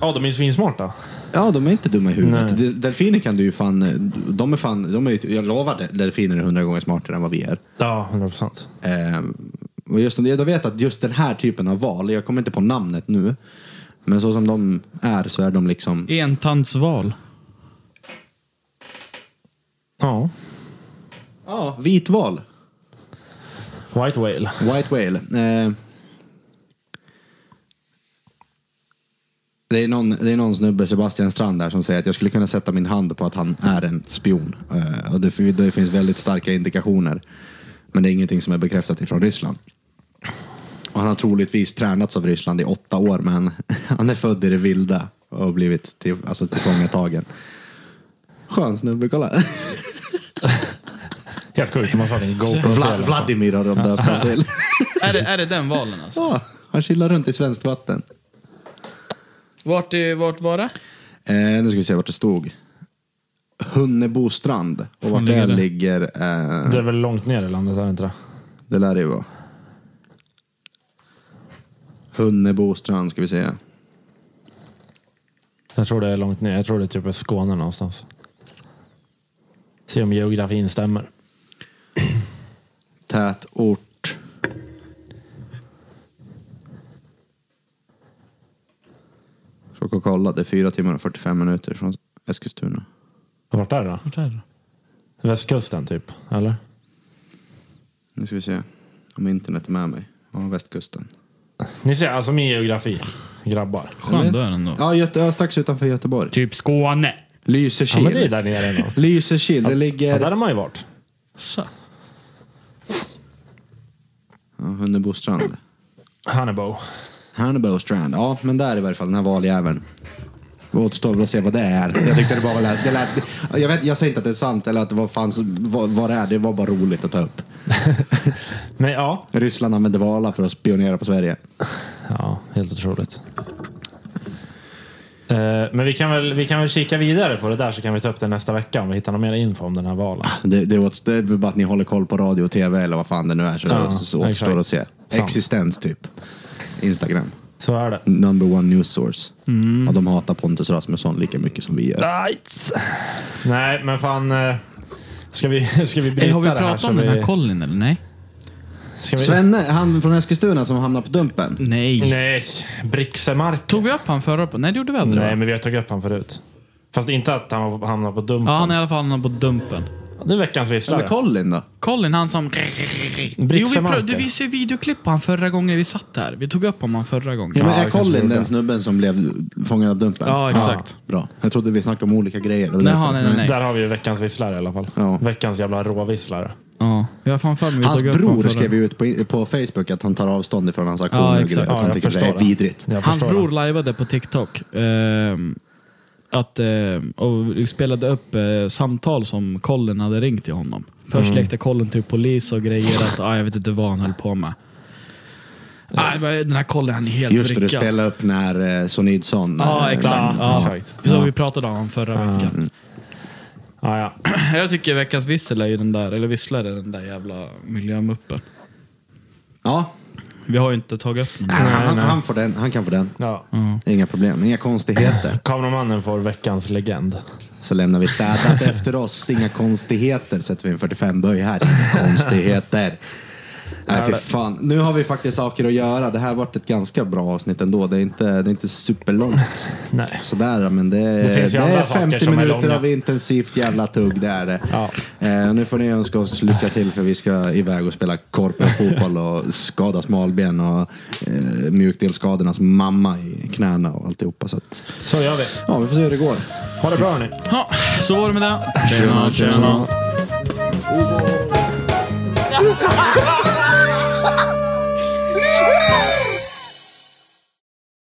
Ja, de är ju svinsmarta. Ja, de är inte dumma i huvudet. Nej. Del- Delfiner kan du ju fan, eh, de är fan, de är, jag lovar det, delfiner är hundra gånger smartare än vad vi är. Ja, 100 procent. Ehm, och just, jag vet att just den här typen av val, jag kommer inte på namnet nu, men så som de är så är de liksom, Entandsval. Ja. ja, vitval. White whale. White Whale. Eh, det, är någon, det är någon snubbe, Sebastian Strand, där som säger att jag skulle kunna sätta min hand på att han är en spion. Eh, och det, det finns väldigt starka indikationer. Men det är ingenting som är bekräftat ifrån Ryssland. Och han har troligtvis tränats av Ryssland i åtta år, men han (laughs) är född i det vilda och har blivit till, alltså, tillfångatagen. Skön snubbe, kolla. Helt sjukt. Man får en GoPro. Vla, Vladimir har de döpt honom (laughs) till. Är det, är det den valen alltså? Ja, han chillar runt i svenskt vatten. Vart, eh, vart var det? Eh, nu ska vi se vart det stod. Hunnebo strand. Och vart ligger det det? ligger... Eh, Det är väl långt ner i landet, är det inte det? det lär det ju vara. Hunnebo strand ska vi se. Jag tror det är långt ner. Jag tror det är typ i Skåne någonstans. Se om geografin stämmer. Tätort. Försök att kolla. Det är 4 timmar och 45 minuter från Eskilstuna. Vart är det då? Vart är det? Västkusten typ, eller? Nu ska vi se om internet är med mig. Ja, västkusten. Ni ser, alltså min geografi. Grabbar. Skön dörr ändå. Ja, Göte, ja, strax utanför Göteborg. Typ Skåne. Lysekil. Ja, men det är där nere någonstans. Lysekil, det Ja, ligger... där har man ju varit. Så. Ja, Hunnebo strand. Hannebo. Hannibal Strand. Ja, men där i varje fall, den här valjäveln. Det återstår väl att se vad det är. Jag tyckte det bara lät, det lät, jag, vet, jag säger inte att det är sant eller att det var fanns, vad, vad det är. Det var bara roligt att ta upp. Men ja. Ryssland använde valar för att spionera på Sverige. Ja, helt otroligt. Eh, Men vi kan, väl, vi kan väl kika vidare på det där så kan vi ta upp det nästa vecka om vi hittar någon mer info om den här valen. Det, det, åt- det är väl bara att ni håller koll på radio och tv eller vad fan det nu är. Så Ja, det så återstår att se. exakt. Sant. Existens typ. Instagram. Så är det. Number one news source. Mm. Ja, de hatar Pontus Rasmusson lika mycket som vi gör. Right. Nej, men fan. eh, Ska vi, (laughs) ska vi bryta Har vi det här? pratat så om den vi- här Colin eller? Nej? ska vi, Svenne, han från Eskilstuna som hamnade på Mm. Dumpen. Nej. Nej, Brixemark. Tog vi upp han förra på... Nej, det gjorde vi aldrig Nej, va? men vi har tagit upp han förut. Fast inte att han hamnade på dumpen. Ja, han är i alla fall hamnat på Dumpen. Det är veckans Eller visslare. Colin då? Colin, han som... Jo, vi Brixemarker. pra- du visade ju videoklipp på han förra gången vi satt här. Vi tog upp om han förra gången. Ja, men Ja, är det kanske Colin gjorde. den snubben som blev fångad av Dumpen? Ja, exakt. Bra. Jag trodde vi snackade om olika grejer. Det var Nej, därför. nej, nej, nej. Där har vi ju veckans visslare i alla fall. Ja. Veckans jävla råvisslare. Ja, jag har fan för mig vi Hans tog upp honom bror förra- skrev ju ut på, på Facebook att han tar avstånd ifrån hans aktioner Ja, och exakt. grejer. Att Ja, han jag tycker att det förstår är det. vidrigt. Jag Hans förstår bror det. lajvade på TikTok. ehm, att, ehm, och spelade upp eh, samtal som Colin hade ringt till honom. Först lekte Colin till polis och grejer. Att, ah, jag vet inte vad han höll på med. Ah, men den här Colin, han är helt Just det, du vrickad. spelade upp när eh, Sonidson... Ja, eh, exakt. vann. Ja, exakt. Så vi pratade om förra veckan. (clears throat) Ja, ja. Jag tycker veckans vissel är ju den där, eller visslar är den där jävla miljömuppen. Ja. Vi har ju inte tagit upp den. Nej, han, han, får den, han kan få den. ja. Inga problem, inga konstigheter. Kameramannen får veckans legend. Så lämnar vi städat efter oss. Inga konstigheter. Sätter vi en 45-böj här. Inga konstigheter. Nej, fy fan. Nu har vi faktiskt saker att göra. Det här vart ett ganska bra avsnitt ändå. Det är inte, det är inte superlångt. Nej. Sådär, men det, är- Det finns ju det andra är saker 50 som är minuter långa. av intensivt jävla tugg. Det är det. Ja. Eh, nu får ni önska oss lycka till för vi ska iväg och spela korpenfotboll och skada smalben och eh, mjukdelsskadornas mamma i knäna och alltihopa. Så att, Så gör vi. ja, vi får se hur det går. Ha det bra hörni. Ja, så var det med det. tjena. tjena.